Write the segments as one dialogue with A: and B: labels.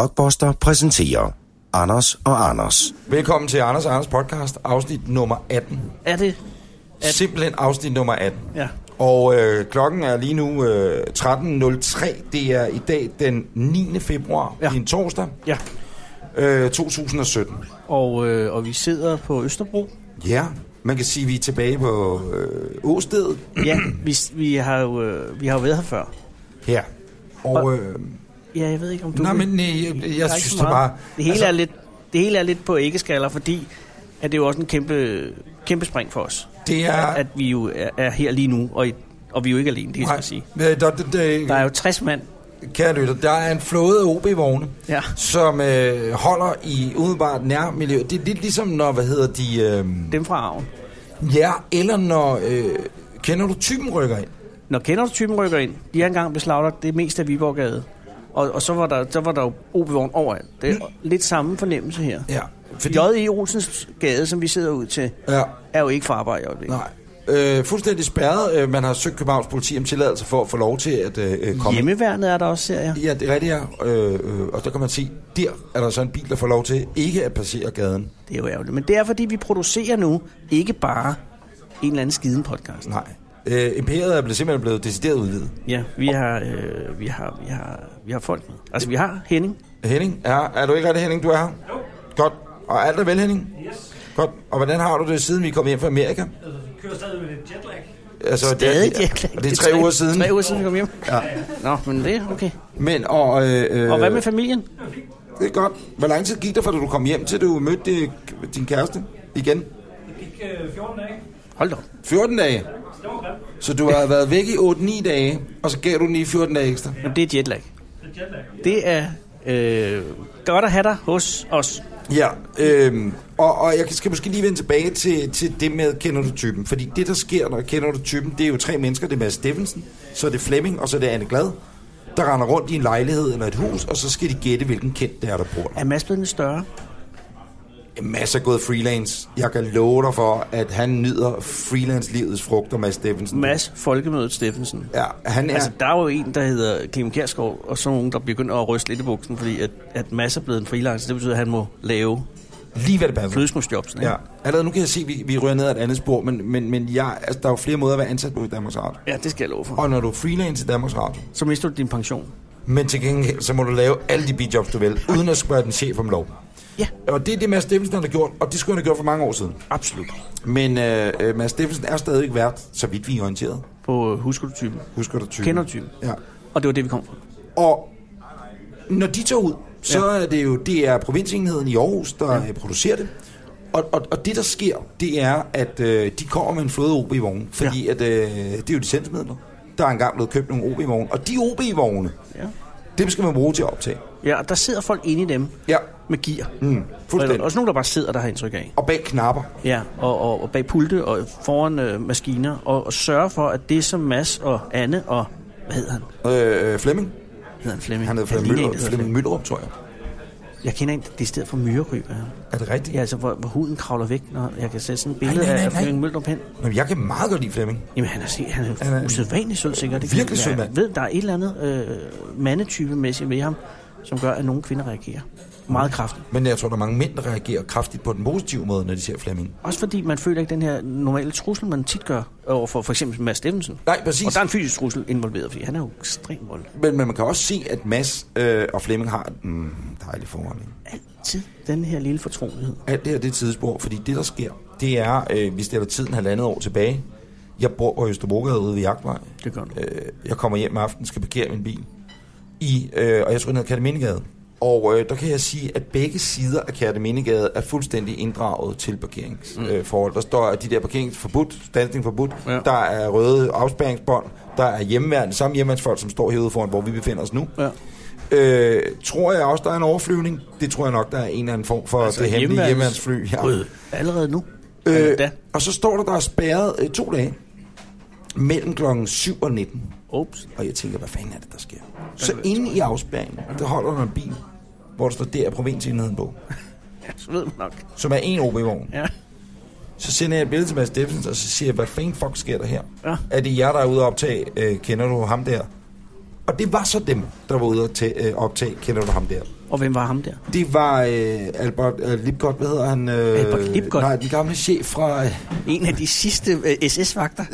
A: Blockbuster præsenterer Anders og Anders.
B: Velkommen til Anders og Anders podcast, afsnit nummer 18.
C: Er det? At-
B: Simpelthen afsnit nummer 18.
C: Ja.
B: Og øh, klokken er lige nu øh, 13.03. Det er i dag den 9. februar, ja.
C: Ja.
B: i en torsdag,
C: Ja.
B: øh, 2017.
C: Og, øh, og vi sidder på Østerbro.
B: Ja, man kan sige, at vi er tilbage på øh, åstedet
C: Ja, vi, vi, har jo, øh, vi har jo været her før.
B: her. Og, øh,
C: Ja, jeg ved ikke, om du...
B: nej,
C: vil-
B: men nej, jeg,
C: Der
B: jeg
C: er ikke
B: synes
C: så
B: det bare...
C: meget. Det hele, altså... er lidt, det hele er lidt på æggeskaller, fordi at det er jo også en kæmpe, kæmpe spring for os.
B: Det er...
C: At vi jo er, er her lige nu, og, i, og vi er jo ikke alene, det skal jeg sige.
B: Nej, øh, der, der, der,
C: Der er jo 60 mand.
B: Kære lytter, der er en flåde af OB-vogne,
C: Ja.
B: som øh, holder i umiddelbart nærmiljø. Det er lidt ligesom når, hvad hedder de, øh,
C: Dem fra Arven.
B: ja, eller når, øh, kender du typen rykker ind?
C: Når kender du typen rykker ind, de har engang beslaglagt det meste af Viborggade. Og, og så var der, så var der jo OB-vogn overalt. Det er
B: Mm.
C: lidt samme fornemmelse her.
B: Ja, fordi,
C: J.E. E. Olsens gade, som vi sidder ud til,
B: ja,
C: er jo ikke for arbejde i øjeblikket.
B: nej. Øh, fuldstændig spærret. Øh, man har søgt Københavns politi om tilladelse for at få lov til at øh, komme.
C: Hjemmeværnet er der også, ser jeg.
B: Ja, det er rigtigt, ja. Øh, øh, og der kan man sige, der er der så en bil, der får lov til ikke at passere gaden.
C: Det er jo ærgerligt. Men det er, fordi vi producerer nu ikke bare en eller anden skiden podcast.
B: Nej. Øh, imperiet er blevet- simpelthen blevet decideret udvidet.
C: Ja, vi har, øh, vi har, vi har, vi har folk med. Altså, vi har Henning.
B: Henning, er, er du ikke rigtig Henning, du er her? Jo. Godt. Og alt er vel, Henning? Yes. Godt. Og hvordan har du det, siden vi kom hjem fra Amerika?
D: Altså, kører stadig med lidt jetlag.
B: Altså,
C: Stadig
B: det, er-
C: Jack Lang.
B: Og det er tre uger siden.
C: Tre uger siden, vi kom hjem. Ja. Nå, men det er okay.
B: Men, og, øh, øh,
C: Og hvad med familien?
B: Det er godt. Hvor lang tid gik der, fra du kom hjem, til du mødte øh, din kæreste igen?
D: Det gik øh, 14 dage.
C: Hold da op.
B: 14 dage.
D: Det var grimt.
B: Så du har været væk i 8-9 dage, og så gav du den lige 14 dage ekstra.
C: Jamen, det er jetlag.
D: Det er jetlag.
C: Det er øh, godt at have dig hos os.
B: Ja, øhm, og, og jeg skal måske lige vende tilbage til, til det med Kender du typen? Fordi det, der sker, når Kender du typen, det er jo tre mennesker. Det er Mads Steffensen, så er det Flemming, og så er det Anne Glad, der render rundt i en lejlighed eller et hus, og så skal de gætte, hvilken kendt det er, der bor der.
C: Er Mads blevet lidt større?
B: Mads er gået freelance. Jeg kan love dig for, at han nyder freelance-livets frugter, Mads Steffensen.
C: Mads Folkemødet Steffensen.
B: Ja, han er...
C: Altså, der er jo en, der hedder Kim Kjærsgaard, og så nogen, der begynder at ryste lidt i buksen, fordi at, at Mads er blevet en freelancer. Det betyder, at han må lave
B: lige hvad det passer.
C: flødeskumsjobs. ikke?
B: Ja. Allerede nu kan jeg se, at vi, vi rører ned ad et andet spor, men, men, men jeg, altså, der er jo flere måder at være ansat på i Danmarks Radio.
C: ja, det skal jeg love for.
B: Og når du er freelance i Danmarks Radio,
C: Så mister du din pension.
B: Men til gengæld, så må du lave alle de bidjobs, du vil, uden at spørge din chef om lov.
C: Ja,
B: Og det er det, Mads Steffensen har gjort, og det skulle han have gjort for mange år siden.
C: absolut.
B: Men øh, øh, Mads Steffensen er stadig vært, så vidt vi er orienteret.
C: På øh, husker du typen.
B: Husker du typen?
C: Kender du typen.
B: Mm. Ja.
C: Og det var det, vi kom fra.
B: Og når de tager ud, så ja. er det jo det er provinsenheden i Aarhus, der ja. producerer det. Og, og, og det, der sker, det er, at øh, de kommer med en flåde ob vognen fordi ja. at, øh, det er jo licensmidler. Der er engang blevet købt nogle OB-vogne, og de OB-vogne,
C: Ja.
B: dem skal man bruge til at optage.
C: ja, og der sidder folk inde i dem
B: Ja,
C: med gear.
B: mm,
C: Og der
B: fuldstændig.
C: er også nogen, der bare sidder, der har indtryk af.
B: og bag knapper.
C: Ja, og, og, og bag pulte og foran øh, maskiner, og, og sørge for, at det som Mads og Anne og... Hvad hedder han?
B: Øh, Flemming.
C: Hedder han Flemming?
B: Han hedder Flemming
C: ligner en,
B: Møller,
C: der hedder
B: Flemming Møllerup, tror jeg.
C: Jeg kender en, det er stedet for myreryb. Ja.
B: Er det rigtigt?
C: ja, altså hvor, hvor, huden kravler væk, når jeg kan sætte sådan et billede
B: Nej, nej, nej,
C: af
B: nej.
C: Flemming Møldrup hen.
B: Nå, jeg kan meget godt lide Flemming.
C: Jamen han er, se- han
B: Han
C: er
B: er-
C: jo usædvanlig sød sikkert. Det
B: Virkelig sød mand.
C: Jeg ved, der er et eller andet øh, mandetypemæssigt ved ham, som gør, at nogle kvinder reagerer. Meget kraftigt.
B: Men jeg tror, der er mange mænd, der reagerer kraftigt på den positive måde, når de ser Flemming.
C: Også fordi man føler ikke den her normale trussel, man tit gør over for for eksempel Mads Steffensen.
B: Nej, præcis.
C: Og der er en fysisk trussel involveret, fordi han er jo ekstremt voldelig.
B: Men, men man kan også se, at Mads øh, og Flemming har en mm, dejlig forholdning.
C: Altid den her lille fortrolighed.
B: Alt det her, det er et tidsspor, fordi det, der sker, det er, øh, vi stiller tiden halvandet år tilbage. Jeg bor på Østerbrogade ude ved Jagtvej.
C: Det gør du.
B: Øh, jeg kommer hjem af aftenen, skal parkere min bil. I, øh, og jeg tror, den hedder Kærtemindegade. Og øh, der kan jeg sige, at begge sider af Kærtemindegade er fuldstændig inddraget til parkeringsforhold. Mm. Øh, forhold. der står, at de der parkeringsforbud, standing forbudt, ja.
C: Ja.
B: der er røde afspærringsbånd, der er hjemmeværende, samme hjemmeværnsfolk, som står herude foran, hvor vi befinder os nu.
C: Ja.
B: Øh, tror jeg også, der er en overflyvning? Det tror jeg nok, der er en eller anden form for altså, det hemmelige
C: hjemmeværnets-
B: hjemmeværnsfly. Ja.
C: Gud, allerede nu.
B: Øh,
C: Øh. Da.
B: og så står der, der er spærret øh, to dage mellem klokken 7 og 19.
C: Ups.
B: Og jeg tænker, hvad fanden er det, der sker? Så inde i afspæringen, der holder der en bil, hvor der står, der er provinsenheden på,
C: Ja, så ved man nok.
B: som er en OB-vogn.
C: Ja.
B: Så sender jeg et billede til Mads Steffensen, og så siger jeg, hvad fanden fuck sker der her?
C: Ja.
B: Er det jer, der er ude og optage, øh, kender du ham der? Og det var så dem, der var ude og tæ- øh, optage, kender du ham der?
C: Og hvem var ham der?
B: Det var øh, Albert øh, Lipkot, hvad hedder han? Øh,
C: Albert Lipkot?
B: Nej, den gamle chef fra... Øh,
C: En af de sidste øh, SS-vagter.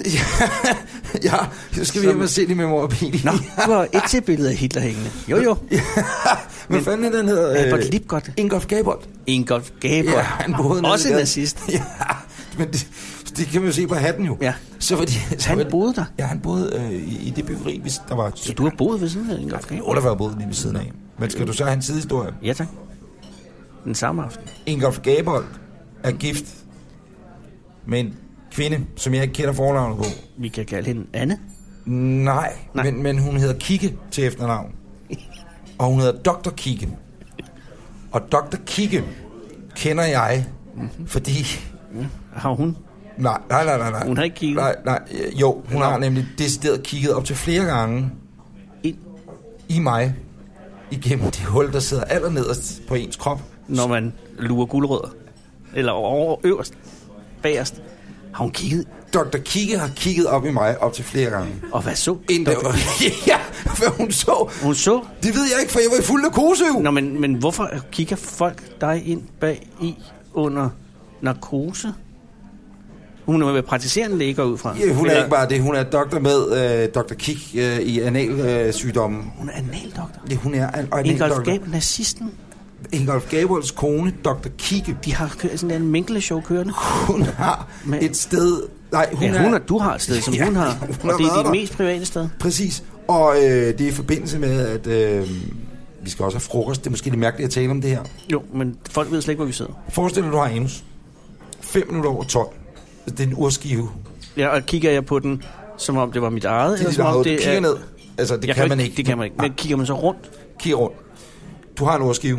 B: ja, så skal vi
C: Som-
B: hjem og se det med morbilen.
C: Nå, du har et til billede af Hitler hængende. Jo, jo.
B: Hvad
C: men-
B: fanden er den hedder? Øh,
C: Albert Lipkot.
B: Ingolf Gabold.
C: Ingolf Gaber.
B: Ja, han boede nede
C: Også
B: i
C: en
B: gaden.
C: nazist.
B: ja, men det, det kan man jo se på hatten jo.
C: Ja.
B: Så fordi, så
C: Han
B: var-
C: boede der.
B: Ja, han boede øh, i, i det byggeri, hvis der var...
C: Så du har boet ved siden af Ingolf Gaber?
B: Jo, der var boet lige ved siden af. Men skal du så have en sidehistorie?
C: Ja, tak. Den samme aften.
B: Ingolf Gabold er gift med en kvinde, som jeg ikke kender fornavnet på.
C: Vi kan kalde hende Anne.
B: Nej,
C: Nej.
B: Nej. Men, men hun hedder Kikke til efternavn. Og hun hedder Dr. Kikke. Og Dr. Kikke kender jeg, mm-hmm. fordi
C: Har hun?
B: Nej, nej, nej, nej, nej.
C: Hun har ikke kigget?
B: Nej, nej, øh, jo, hun har nemlig decideret kigget op til flere gange
C: En,
B: i mig, igennem det hul, der sidder allernederst på ens krop.
C: når man lurer guldrødder. Eller over, øverst. Bagerst. Har hun kigget?
B: Dr. Kigge har kigget op i mig op til flere gange.
C: Og hvad så?
B: Inden der, ja, hvad hun så.
C: Hun så.
B: Det ved jeg ikke, for jeg var i fuld narkose jo.
C: Nå, men, men hvorfor kigger folk dig ind bag i under narkose? Hun er jo praktiserende læge går jeg ud fra.
B: Ja, hun er
C: Eller-
B: ikke bare det, hun er doktor med øh, Dr. Kik øh, i analsygdommen. Øh,
C: Hun er analdoktor.
B: ja, hun er al-
C: Ingolf
B: analdoktor.
C: Gabel, nazisten.
B: Ingolf Gabolds kone, Dr. Kigge,
C: De har kørt sådan en minkleshow kørende.
B: hun har
C: Men-
B: et sted... Nej, hun,
C: Hun ja,
B: er,
C: hun og du har et sted, som
B: Ja,
C: ja, hun har.
B: hun har
C: og det er
B: været
C: dit
B: der.
C: mest private sted.
B: Præcis. Og øh, det er i forbindelse med, at øh, vi skal også have frokost. Det er måske lidt mærkeligt at tale om det her.
C: Jo, men folk ved slet ikke, hvor vi sidder.
B: Forestil dig, du har anus. 5 minutter over 12. Det er en urskive.
C: Ja, og kigger jeg på den, som om det var mit eget,
B: Det er ligesom dit
C: som om
B: eget. Du kigger
C: er-
B: ned. Altså, det
C: Jeg
B: kan man ikke.
C: Det kan man ikke.
B: Nej,
C: Men kigger man så rundt?
B: kigger rundt. Du har en urskive.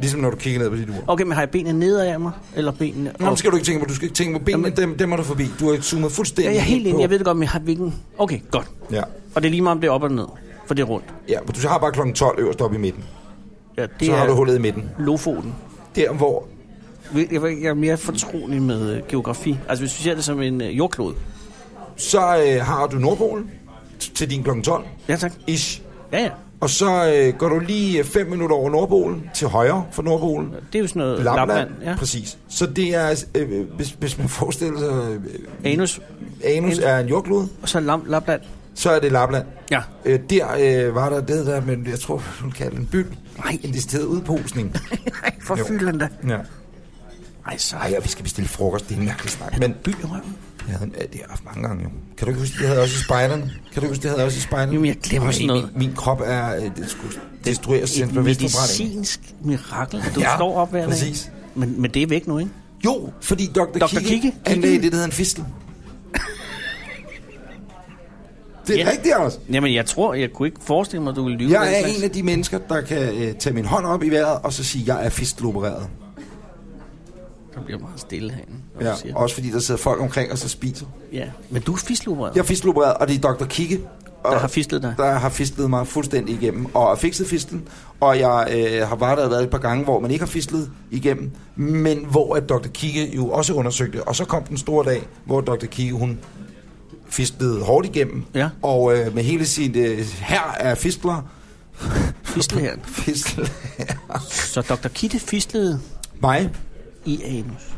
B: Ligesom når du kigger ned på dit ur.
C: Okay, men har jeg benene nedad af mig? Eller benene op?
B: Nå, men skal du ikke tænke på, du skal ikke tænke på benene,
C: Jamen-
B: dem, dem er du forbi. Du har zoomet fuldstændig
C: Ja, jeg er helt
B: på.
C: enig. Jeg ved det godt, men jeg har hvilken... Okay, godt.
B: Ja.
C: Og det er lige meget, om det er op eller ned. For det er rundt.
B: ja, men du har bare klokken 12 øverst op i midten.
C: Ja, det
B: Så
C: er
B: har du hullet i midten.
C: lofoten.
B: Der, hvor...
C: Ved- Jeg, ved ikke, jeg er mere fortrolig med øh, geografi. Altså, hvis vi ser det som en øh, jordklode.
B: Så øh, har du Nordpolen t- til din klokken 12.
C: Ja, tak.
B: Ish.
C: Ja, ja.
B: Og så øh, går du lige 5 minutter over Nordpolen, til højre for Nordpolen.
C: Det er jo sådan noget
B: Lapland,
C: Øh, Lapland. ja.
B: præcis. Så det er, øh, hvis, hvis man forestiller sig, øh,
C: Anus,
B: anus er en jordklode,
C: og så Lam, Lapland.
B: så er det Lapland.
C: Ja.
B: Øh, der øh, var der det der, men jeg tror, hun kalder det en byld. Nej. En decideret udposning.
C: For
B: Jo.
C: fylden da.
B: ja.
C: Ej, så
B: Ej, ja, vi skal bestille frokost, det er en mærkelig snak. Men
C: by i røven.
B: jeg havde, ja, det har jeg haft mange gange jo. Kan du ikke huske, det havde jeg også i spejderne? Kan du huske, det havde jeg også i spejderne?
C: Jamen, jeg glemmer sådan
B: min,
C: noget.
B: min, min krop er, øh, det skulle destrueres til en
C: Et
B: bevidst forbrænding.
C: medicinsk mirakel. Du
B: Ja,
C: står op hver
B: præcis.
C: dag. Men, men det er væk nu, ikke?
B: Jo, fordi Dr. Dr. Kigge,
C: Kigge?
B: Kigge anlagde det, der hedder en fistel. Det er
C: Ja.
B: ja. rigtigt, også.
C: Jamen, jeg tror, jeg kunne ikke forestille mig, at du ville lyve.
B: Jeg er en af de mennesker, der kan øh, tage min hånd op i vejret, og så sige, at jeg er fistelopereret.
C: Der bliver meget stille herinde. når du
B: Ja,
C: siger.
B: også fordi der sidder folk omkring og så spiser.
C: ja. Men du er fislopereret.
B: Jeg er fistelopereret, og det er Dr. Kigge, og
C: Der har fistlet dig.
B: der har fistlet mig fuldstændig igennem, og har fikset fistlen. Og jeg øh, har bare der været et par gange, hvor man ikke har fistlet igennem, men hvor at Dr. Kigge jo også undersøgte. Og så kom den store dag, hvor Dr. Kigge, hun fistlede hårdt igennem,
C: Ja.
B: og øh, med hele sin øh, her er fistler,
C: Fistle her.
B: fistel
C: Så Dr. Kitte fislede
B: mig,
C: i anus.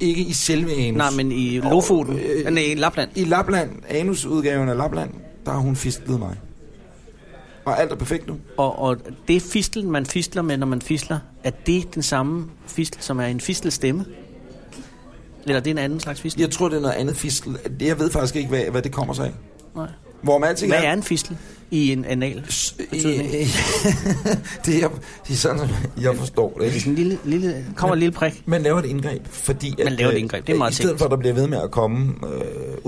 B: ikke i selve anus.
C: Nej, men i Lofoten.
B: øh,
C: Øh, Nej, i Lapland.
B: I Lapland, anusudgaven af Lapland, der har hun fistlet mig. Og alt er perfekt nu.
C: Og, og det fistel, man fistler med, når man fisler, er det den samme fistel, som er en fistelstemme? Eller er det en anden slags fistel?
B: Jeg tror, det er noget andet fistel. Jeg ved faktisk ikke, hvad, hvad det kommer sig af.
C: Nej.
B: Hvor man altid
C: Hvad er en fistel i en anal? betydning?
B: det, er, det er sådan, som jeg forstår det.
C: Det er
B: ikke?
C: sådan en lille, lille, kommer en lille prik.
B: Man laver et indgreb, fordi at,
C: Man laver et
B: øh,
C: indgreb, det er meget
B: I stedet
C: teknisk.
B: for, at der bliver ved med at komme øh,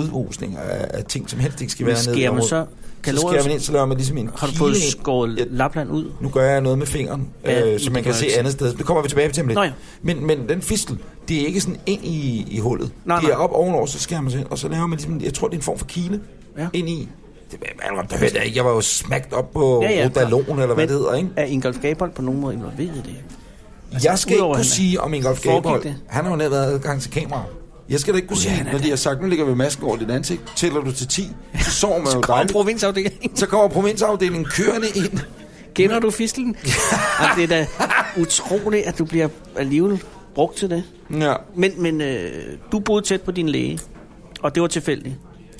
B: udrusninger af, af ting, som helst ikke skal
C: Men
B: være nede i
C: skærer man
B: området,
C: så
B: så
C: kalorier-
B: skærer man ind, så laver man ligesom en
C: Har du
B: kile
C: fået
B: ind.
C: skåret
B: Jeg-
C: Lapland ud?
B: Nu gør jeg noget med fingeren,
C: Ja,
B: ja,
C: men
B: øh, så
C: det
B: man kan
C: gør
B: se
C: ikke.
B: andet sted. Det kommer vi tilbage til om lidt.
C: Nå ja.
B: Men, men den fistel, det er ikke sådan ind i, i hullet.
C: Nej,
B: det er
C: nej.
B: op ovenover, så skærer man sig ind, og så laver man ligesom, jeg tror, det er en form for kile
C: Ja.
B: ja. ind i. Det, man, der hørte jeg ikke, jeg var jo smagt op på ja, ja,
C: klar.
B: Rodalon, eller hvad
C: Men
B: det hedder, ikke?
C: Er Ingolf Gabold på nogen måde involveret i det?
B: Jeg skal ikke
C: Altså, udover
B: kunne
C: han er-
B: sige om Ingolf
C: foregik
B: Gabold.
C: det?
B: Han har jo netop været adgang til kamera. Jeg skal da ikke kunne sige,
C: han er
B: når de har sagt, nu ligger vi masken over dit ansigt, tæller du til 10, så sover man jo
C: Og
B: dejligt.
C: provinsafdelingen.
B: Så kommer provinsafdelingen kørende ind
C: Kender du fistlen? Jamen, det er da utroligt, at du bliver alligevel brugt til det.
B: Ja.
C: Men, men øh, du boede tæt på din læge, og det var tilfældigt.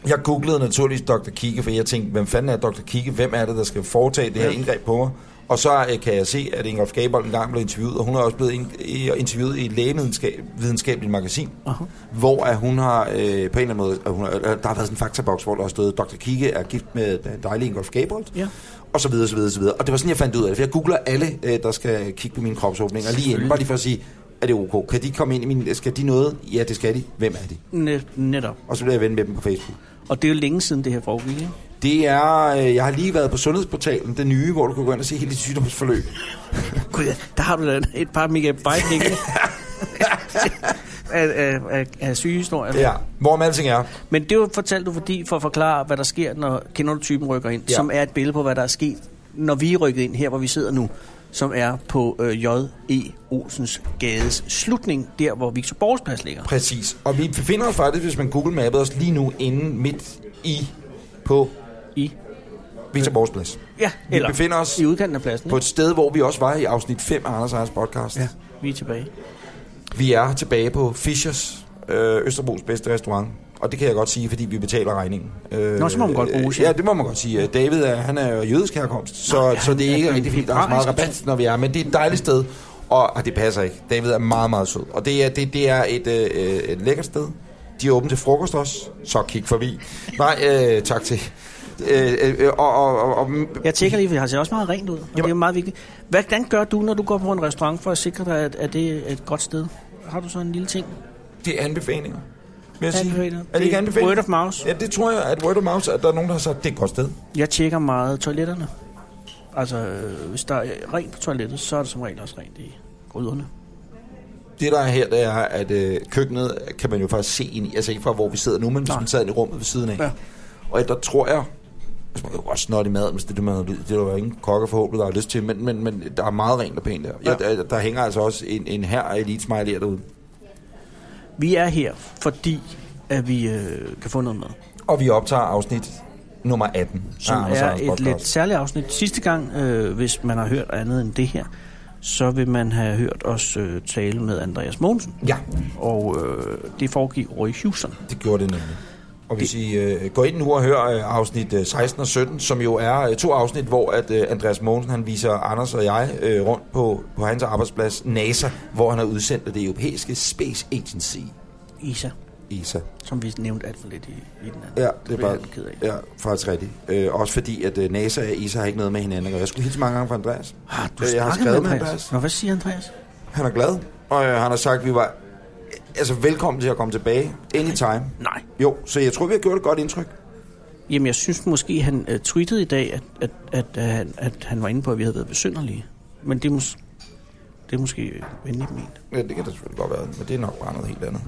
B: Jeg googlede naturligvis Dr. Kike, for jeg tænkte, hvem fanden er Dr. Kike? Hvem er det, der skal foretage det her indgreb på mig? Og så øh, kan jeg se, at Ingrid Skabold engang blev interviewet, og hun er også blevet ind- i- interviewet i et lægevidenskabeligt magasin,
C: Aha.
B: hvor at hun har øh, på en eller anden måde, at hun har, øh, der har været sådan en faktaboks, hvor der har stået, Dr. Kike er gift med den dejlige Ingrid Skabold,
C: Ja.
B: og så videre, så videre, så videre. Og det var sådan, jeg fandt ud af det, for jeg googler alle, øh, der skal kigge på mine kropsåbninger, lige inden, bare lige for at sige, er det ok? Kan de komme ind i min... Skal de noget? Ja, det skal de. Hvem er de?
C: Net, netop.
B: Og så bliver jeg ven med dem på Facebook.
C: Og det er jo længe siden, det her foregik, ikke?
B: Det er, øh, jeg har lige været på sundhedsportalen, den nye, hvor du kan gå ind og se hele dit sygdomsforløb.
C: Gud, ja, der har du da et par megabyte liggende. af, af, af, af sygehistorier.
B: Ja, hvor man alting er.
C: Men det var fortalt du fordi, for at forklare, hvad der sker, når kender du typen rykker ind,
B: Ja.
C: ja. som er et billede på, hvad der er sket, når vi er rykket ind her, hvor vi sidder nu, som er på øh, J.E. Olsens Gades slutning, der hvor Victor Borgs plads ligger.
B: Præcis. Og vi befinder os faktisk, hvis man google mappede os lige nu, inde midt i på
C: I,
B: Victor Borgs plads.
C: ja,
B: Vi
C: eller
B: befinder os
C: i udkanten af pladsen.
B: på
C: Ikke?
B: et sted, hvor vi også var i afsnit 5 af Anders Ejers podcast. Ja.
C: Vi er tilbage.
B: Vi er tilbage på Fishers, øh, Østerbros bedste restaurant. Og det kan jeg godt sige, fordi vi betaler regningen. Øh,
C: Nå, så må man godt bruge,
B: øh,
C: ja.
B: Ja, det må man godt sige. Øh, David er, han er jo jødisk herkomst, så, Nå, ja, så det er
C: han
B: ikke
C: er
B: rigtig fint. Der er så meget
C: hebraisk.
B: rabat, når vi er, men det er et dejligt sted. Og ah, det passer ikke. David er meget, meget sød. Og det er, det, det er et, øh, øh, et lækkert sted. De er åbne til frokost også, så kig forbi. Nej, øh, tak til. Øh, øh, og, og, og, og,
C: Jeg tjekker lige, for det ser også meget rent ud, og Jamen. det er meget vigtigt. Hvordan gør du, når du går på en restaurant, for at sikre dig, at, at det er et godt sted? Har du så en lille ting?
B: det er anbefalinger. Vil jeg sige.
C: Anbefalinger.
B: Er det
C: Det
B: ikke
C: er
B: anbefalinger?
C: word of mouse.
B: Ja, det tror jeg, at word of mouse, at der er nogen, der har sagt, det er et godt sted.
C: Jeg tjekker meget toiletterne. Altså, øh, hvis der er rent på toilettet, så er det som regel også rent i gryderne.
B: Det der er her, det er, at øh, køkkenet kan man jo faktisk se ind i, altså ikke fra hvor vi sidder nu, men hvis
C: Nej.
B: man sad ind i rummet ved siden af. Ja.
C: Ja.
B: Og der tror jeg, altså man kan jo også snotte i maden, hvis det er det, man har lyd. Det er der jo ingen kokker forhåbentlig, der har lyst til, men, men, men der er meget rent og pænt der. Ja. Der, der, hænger altså også en, en her af elite smiley derude.
C: Vi er her, fordi at vi øh, kan få noget med.
B: Og vi optager afsnit nummer 18.
C: Som
B: af Anders
C: er
B: Anders
C: et
B: podcast.
C: lidt særligt afsnit. Sidste gang, øh, hvis man har hørt andet end det her, så vil man have hørt os øh, tale med Andreas Mogensen.
B: Ja,
C: Og øh, det foregik over i Houston.
B: det gjorde det nemlig. Og hvis I øh, går ind nu og hører øh, afsnit øh, 16 og 17, som jo er øh, to afsnit, hvor at øh, Andreas Mogensen han viser Anders og jeg øh, rundt på, på hans arbejdsplads, NASA, hvor han er udsendt af det europæiske Space Agency,
C: Isa,
B: ESA.
C: som vi nævnte alt for lidt i, i den anden.
B: Ja, det
C: bliver
B: er bare,
C: jeg lidt ked af.
B: ja, faktisk rigtigt. Øh, også fordi, at øh, NASA og ESA har ikke noget med hinanden at gøre. Jeg skulle hilse mange gange fra Andreas.
C: Har Ah, du
B: Øh, jeg har
C: snakket
B: skrevet
C: med
B: med
C: Andreas?
B: Andreas.
C: Nå, hvad siger Andreas?
B: Han er glad, og øh, han har sagt, at vi var altså, velkommen til at komme tilbage. Anytime.
C: Nej.
B: Jo, så jeg tror, vi har gjort et godt indtryk.
C: Jamen, jeg synes måske, han øh, tweetede i dag, at, at, at, at, han- at han var inde på, at vi havde været besynderlige. Men det er, mås- det er måske øh, venligt ment.
B: Ja, det kan det selvfølgelig godt være, men det er nok bare noget helt andet.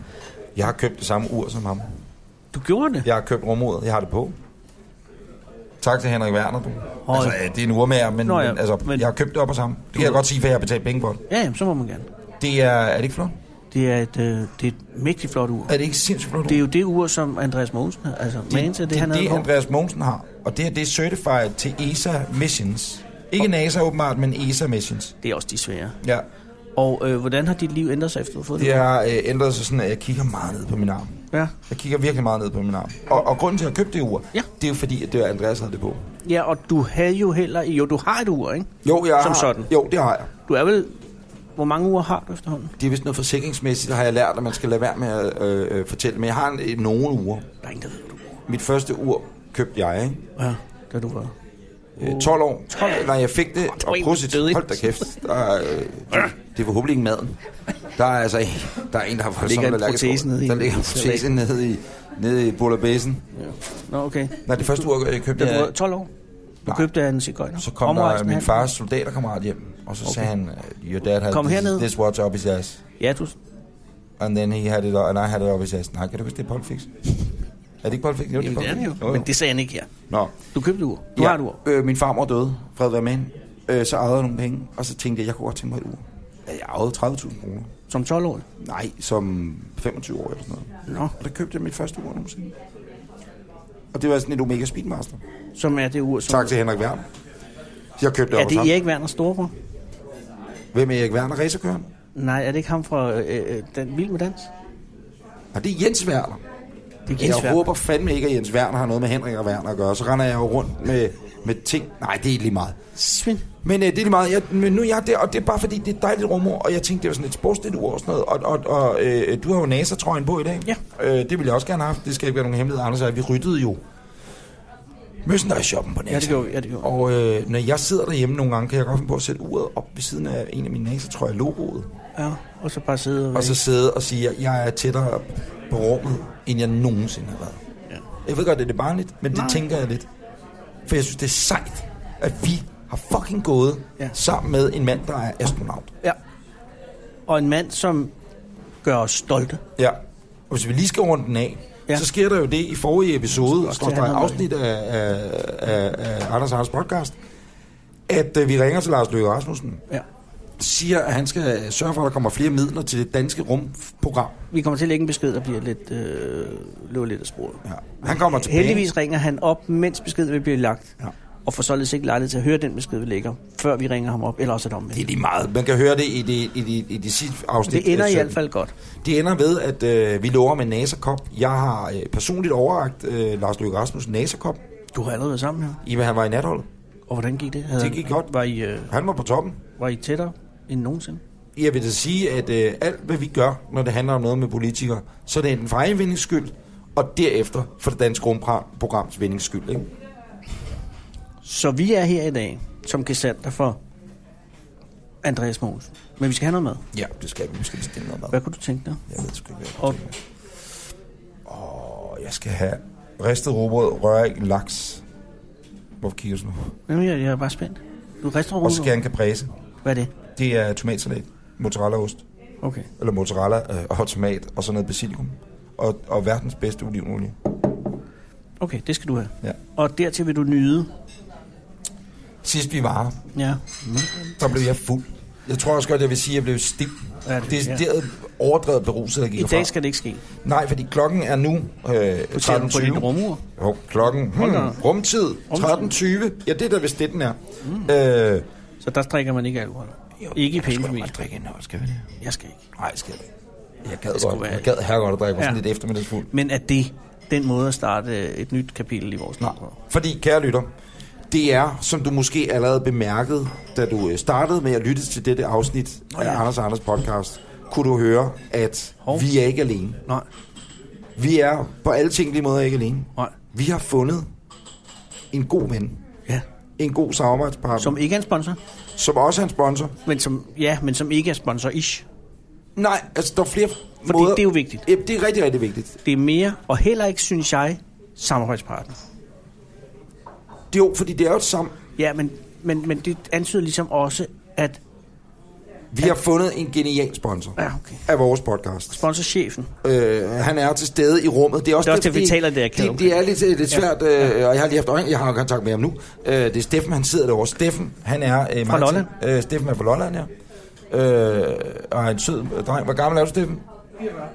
B: Jeg har købt det samme ur som ham.
C: Du gjorde det?
B: Jeg har købt rumuret, jeg har det på. Tak til Henrik Werner, du. Altså, ja, det er en urmager, men,
C: Nå ja,
B: men, altså,
C: men-
B: jeg har købt det op og sammen. Det kan jeg godt sige, for jeg har betalt penge for det.
C: Ja, jamen, så må man gerne.
B: Det er, er det ikke flot?
C: Det er et, øh, det er et mægtigt flot ur.
B: Er det ikke sindssygt flot? ur?
C: Det er jo det ur, som Andreas Mogensen har. Altså, det, man til det,
B: det,
C: han
B: det, det
C: havde på.
B: Andreas Mogensen har, og det her, det er certified til ESA Missions. Ikke NASA åbenbart, men ESA Missions.
C: Det er også de svære.
B: Ja,
C: Og øh, hvordan har dit liv ændret sig efter, du har fået
B: det har øh, ændret sig sådan, at jeg kigger meget ned på min arm.
C: det? Ja.
B: Jeg kigger virkelig meget ned på min arm. Og, og grunden til, at jeg købte det ur,
C: Ja.
B: det er jo fordi, at det var Andreas, der havde det på.
C: ja, og du havde jo heller... Jo, du har et ur, ikke?
B: Jo, jeg
C: Som
B: har,
C: sådan.
B: Jo, det har jeg.
C: Du er vel... Hvor mange uger har du efterhånden?
B: Det er vist noget forsikringsmæssigt, har jeg lært, at man skal lade være med at øh, øh, fortælle. Men jeg har en, øh, nogle uger.
C: Der er ingen, der ved, hvad du bruger.
B: Mit første ur købte jeg, ikke?
C: Ja, da du var... Uh.
B: Øh, 12 år.
C: 12 år.
B: Nej, jeg fik det. Og
C: en, der
B: prosit.
C: døde, ikke?
B: Hold da kæft. Der er, øh, det- det er forhåbentlig ikke maden. Der er altså en, der, er en, der har voldsomt
C: ligger en
B: allergisk
C: protese
B: over-
C: nede i-
B: Der ligger en
C: i
B: protese
C: salaten.
B: nede i, nede i Bullabæsen.
C: Nå, okay.
B: Nej, det første ur, jeg købte,
C: Da du
B: ja.
C: var 12 år? Du
B: Nej.
C: købte af en cigøjner?
B: så kom der
C: Omrejsende
B: min
C: handel.
B: fars soldaterkammerat hjem. Og så okay. sagde han, your dad had
C: Kom
B: this,
C: herned.
B: this watch up his ass.
C: Ja, du...
B: And then he had it, and I had it up his ass. Nej, kan du huske, det er Pulp Fiction? Er det ikke Pulp Fiction? Jo,
C: Jamen,
B: Pulp
C: det er det
B: Fiction.
C: jo. Men det sagde han ikke her.
B: Nå,
C: Du købte et ur. Du har et ur.
B: Øh, min farmor døde, fred være med hende. Øh, så ejede jeg nogle penge, og så tænkte jeg, jeg kunne godt tænke mig et ur. Ja, Jeg ejede 30.000 kroner.
C: Som 12-årig.
B: Nej, som 25 år eller sådan noget.
C: Nå.
B: Og der købte jeg mit første ur nogensinde. Og det var sådan et Omega Speedmaster.
C: Som er det ur, som...
B: Tak til Henrik Werner. Jeg købte det
C: Er
B: over
C: det
B: sammen.
C: Erik Werner Storebror?
B: Hvem er Erik Werner racerkøren?
C: Nej, er det ikke ham fra øh, øh, den, Vild med Dans?
B: Og det er Jens Werner.
C: Det er
B: Jens
C: Jens
B: jeg
C: Werner.
B: håber fandme ikke, at Jens Werner har noget med Henrik og Werner at gøre. Så render jeg jo rundt med, med ting. Nej, det er lige meget.
C: Svend.
B: Men øh, det er lige meget. Jeg, men nu er jeg der, og det er bare fordi, det er et dejligt rumord, og jeg tænkte, det var sådan et sportsligt ur og sådan noget. Og, og, og øh, du har jo NASA-trøjen på i dag.
C: Ja.
B: Øh, det ville jeg også gerne have haft. Det skal ikke være nogen hemmelighed, Anders. og jeg. Vi ryttede jo merchandise-shoppen på NASA.
C: Ja, det gjorde vi. Ja, det gjorde vi.
B: Og øh, når jeg sidder derhjemme nogle gange, kan jeg godt finde på at sætte uret op ved siden af en af mine NASA-trøjer, logoet.
C: Ja, og så bare sidde og...
B: Og så sidde og sige, at jeg er tættere på rummet, end jeg nogensinde har været.
C: Ja.
B: Jeg ved godt, at det er barnligt, men det
C: Nej.
B: Nej. tænker jeg lidt. For jeg synes, det er sejt, at vi har fucking gået
C: Ja.
B: ja. sammen med en mand, der er astronaut.
C: ja. Og en mand, som gør os stolte.
B: Ja. Og hvis vi lige skal runde den af,
C: Ja.
B: ja. så sker der jo det i forrige episode,
C: også
B: og der
C: tage
B: er
C: noget
B: afsnit af, af, af, af Anders Anders podcast, at øh, vi ringer til Lars Løkke Rasmussen,
C: Ja.
B: siger, at han skal øh, sørge for, at der kommer flere midler til det danske rumprogram.
C: Vi kommer til at lægge en besked, der bliver lidt, øh, løber lidt af sporet.
B: Ja. Han kommer tilbage.
C: Heldigvis ringer han op, mens beskeden vil blive lagt.
B: Ja.
C: Og får således ikke lejlighed til at høre den besked, vi lægger, før vi ringer ham op. Eller også er det omvendt.
B: Det er lige meget. Man kan høre det i det, i det, i det sidste afsnit.
C: Det ender
B: af
C: i
B: søndag.
C: hvert fald godt.
B: Det ender ved, at øh, vi lover med NASA-kop. Jeg har øh, personligt overragt øh, Lars Løkke Rasmussen NASA-kop.
C: Du har allerede været sammen her.
B: I hvad han var i natholdet.
C: Og hvordan gik det? Havde
B: Det gik
C: han-
B: godt.
C: Var I, øh,
B: Han var på toppen.
C: var I tættere end nogensinde?
B: Jeg vil da sige, at øh, alt hvad vi gør, når det handler om noget med politikere, så er det enten for egen vindings skyld, og derefter for det danske rumprograms vindings skyld. Ikke?
C: Så vi er her i dag som gesanter for Andreas Mogensen. Men vi skal have noget med.
B: Ja, det skal vi. Vi skal bestille noget mad.
C: Hvad kunne du tænke dig?
B: Jeg ved sgu ikke, hvad jeg
C: Og
B: Og jeg skal have ristet robrød, røræg, laks. Hvorfor kigger du sådan?
C: Jamen, jeg, jeg er bare spændt. Du rister
B: Og så skal jeg
C: rundt.
B: have en caprese.
C: Hvad er det?
B: Det er tomatsalat, mozzarellaost,
C: Okay.
B: eller mozzarella øh, og tomat, og sådan noget basilikum. Og, og verdens bedste olivenolie.
C: Okay, det skal du have.
B: Ja.
C: Og dertil vil du nyde.
B: Sidst vi var her,
C: Ja.
B: Mm. der blev jeg fuld. Jeg tror også godt, jeg vil sige, at jeg blev stiv.
C: Ja, det-
B: det er ja. overdrevet beruset, jeg gik
C: I
B: herfra.
C: dag skal det ikke ske.
B: Nej, fordi klokken er nu øh,
C: Du ser den på dit
B: 13.20.
C: rumur.
B: Jo, klokken. Hmm,
C: da op.
B: rumtid. 13.20. Ja, det er der, hvis det den er. Mm. Øh,
C: Så der drikker man ikke alkohol. ikke i pæne familier.
B: drikke en skal vi det?
C: Jeg skal ikke.
B: Nej, skal jeg ikke. Jeg gad,
C: skulle
B: godt,
C: være-
B: jeg gad her godt at drikke mig sådan
C: Ja.
B: lidt eftermiddagsfuld.
C: Men er det den måde at starte et nyt kapitel i vores liv?
B: Nej, fordi kære lytter, det er, som du måske allerede bemærkede, da du øh, startede med at lytte til dette afsnit
C: Nå
B: af
C: ja.
B: Anders og Anders podcast, kunne du høre, at
C: Hov.
B: vi er ikke alene.
C: Nej.
B: Vi er på alle tænkelige måder ikke alene.
C: Nej.
B: Vi har fundet en god ven,
C: Ja.
B: en god samarbejdspartner, som,
C: Som ikke er en sponsor,
B: som også er en sponsor.
C: men som, ja, men som ikke er sponsor-ish.
B: Nej, altså der er flere
C: Fordi
B: måder.
C: det er jo vigtigt.
B: Ja, det er rigtig, rigtig vigtigt.
C: Det er mere, og heller ikke, synes jeg, samarbejdspartner.
B: Det er jo, fordi det er jo et sam...
C: Ja, men, men, men det antyder ligesom også, at...
B: Vi har fundet en genial sponsor
C: Ja, okay.
B: af vores podcast.
C: Sponsorchefen.
B: øh, han er til stede i rummet. Det er også,
C: Det er også det, vi
B: fordi
C: taler, det er kæde
B: det, det er lidt, øh, lidt svært, ja. øh, og jeg har lige haft øjne, jeg har kontakt med ham nu. Øh, det er Steffen, han sidder derovre. Steffen, han er... Øh, Martin.
C: Lolland.
B: Øh, Steffen er fra Lolland, ja. Øh, og er en sød dreng. Hvor gammel er du, Steffen?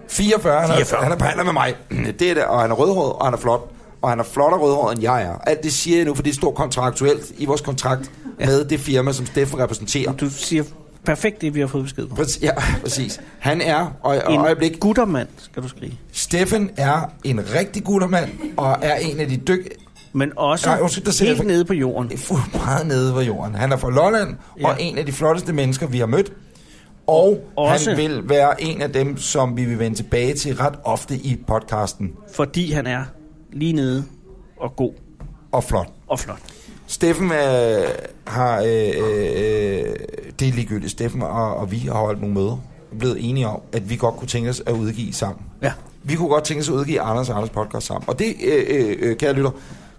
B: 44. Han er,
C: 44.
B: Han er på alder med mig. Det er det, og han er rødhåret, og han er flot. Og han er flottere rødhåret, end jeg er. Alt det siger jeg nu, for det står kontraktuelt i vores kontrakt ja. med det firma, som Steffen repræsenterer.
C: Du siger perfekt det, vi har fået besked på.
B: Præcis, ja, præcis. Han er, og, og øjeblik,
C: En guttermand, skal du skrive.
B: Steffen er en rigtig guttermand, og er en af de dyk...
C: Men også
B: Nej, undskyld, der siger jeg
C: helt
B: for-
C: nede på jorden.
B: fuldt meget nede ved jorden. Han er fra Lolland, ja.
C: Ja.
B: og en af de flotteste mennesker, vi har mødt. Og
C: Også-
B: Også. han vil være en af dem, som vi vil vende tilbage til ret ofte i podcasten.
C: Fordi han er lige nede og god
B: Og flot.
C: og flot.
B: Steffen øh, har... Øh, øh, øh, det er ligegyldigt. Steffen og, og vi har holdt nogle møder. og Blevet enige om, at vi godt kunne tænke os at udgive sammen.
C: Ja.
B: Vi kunne godt tænke os at udgive Anders og Anders podcast sammen. Og det, øh, øh, øh, kære lytter,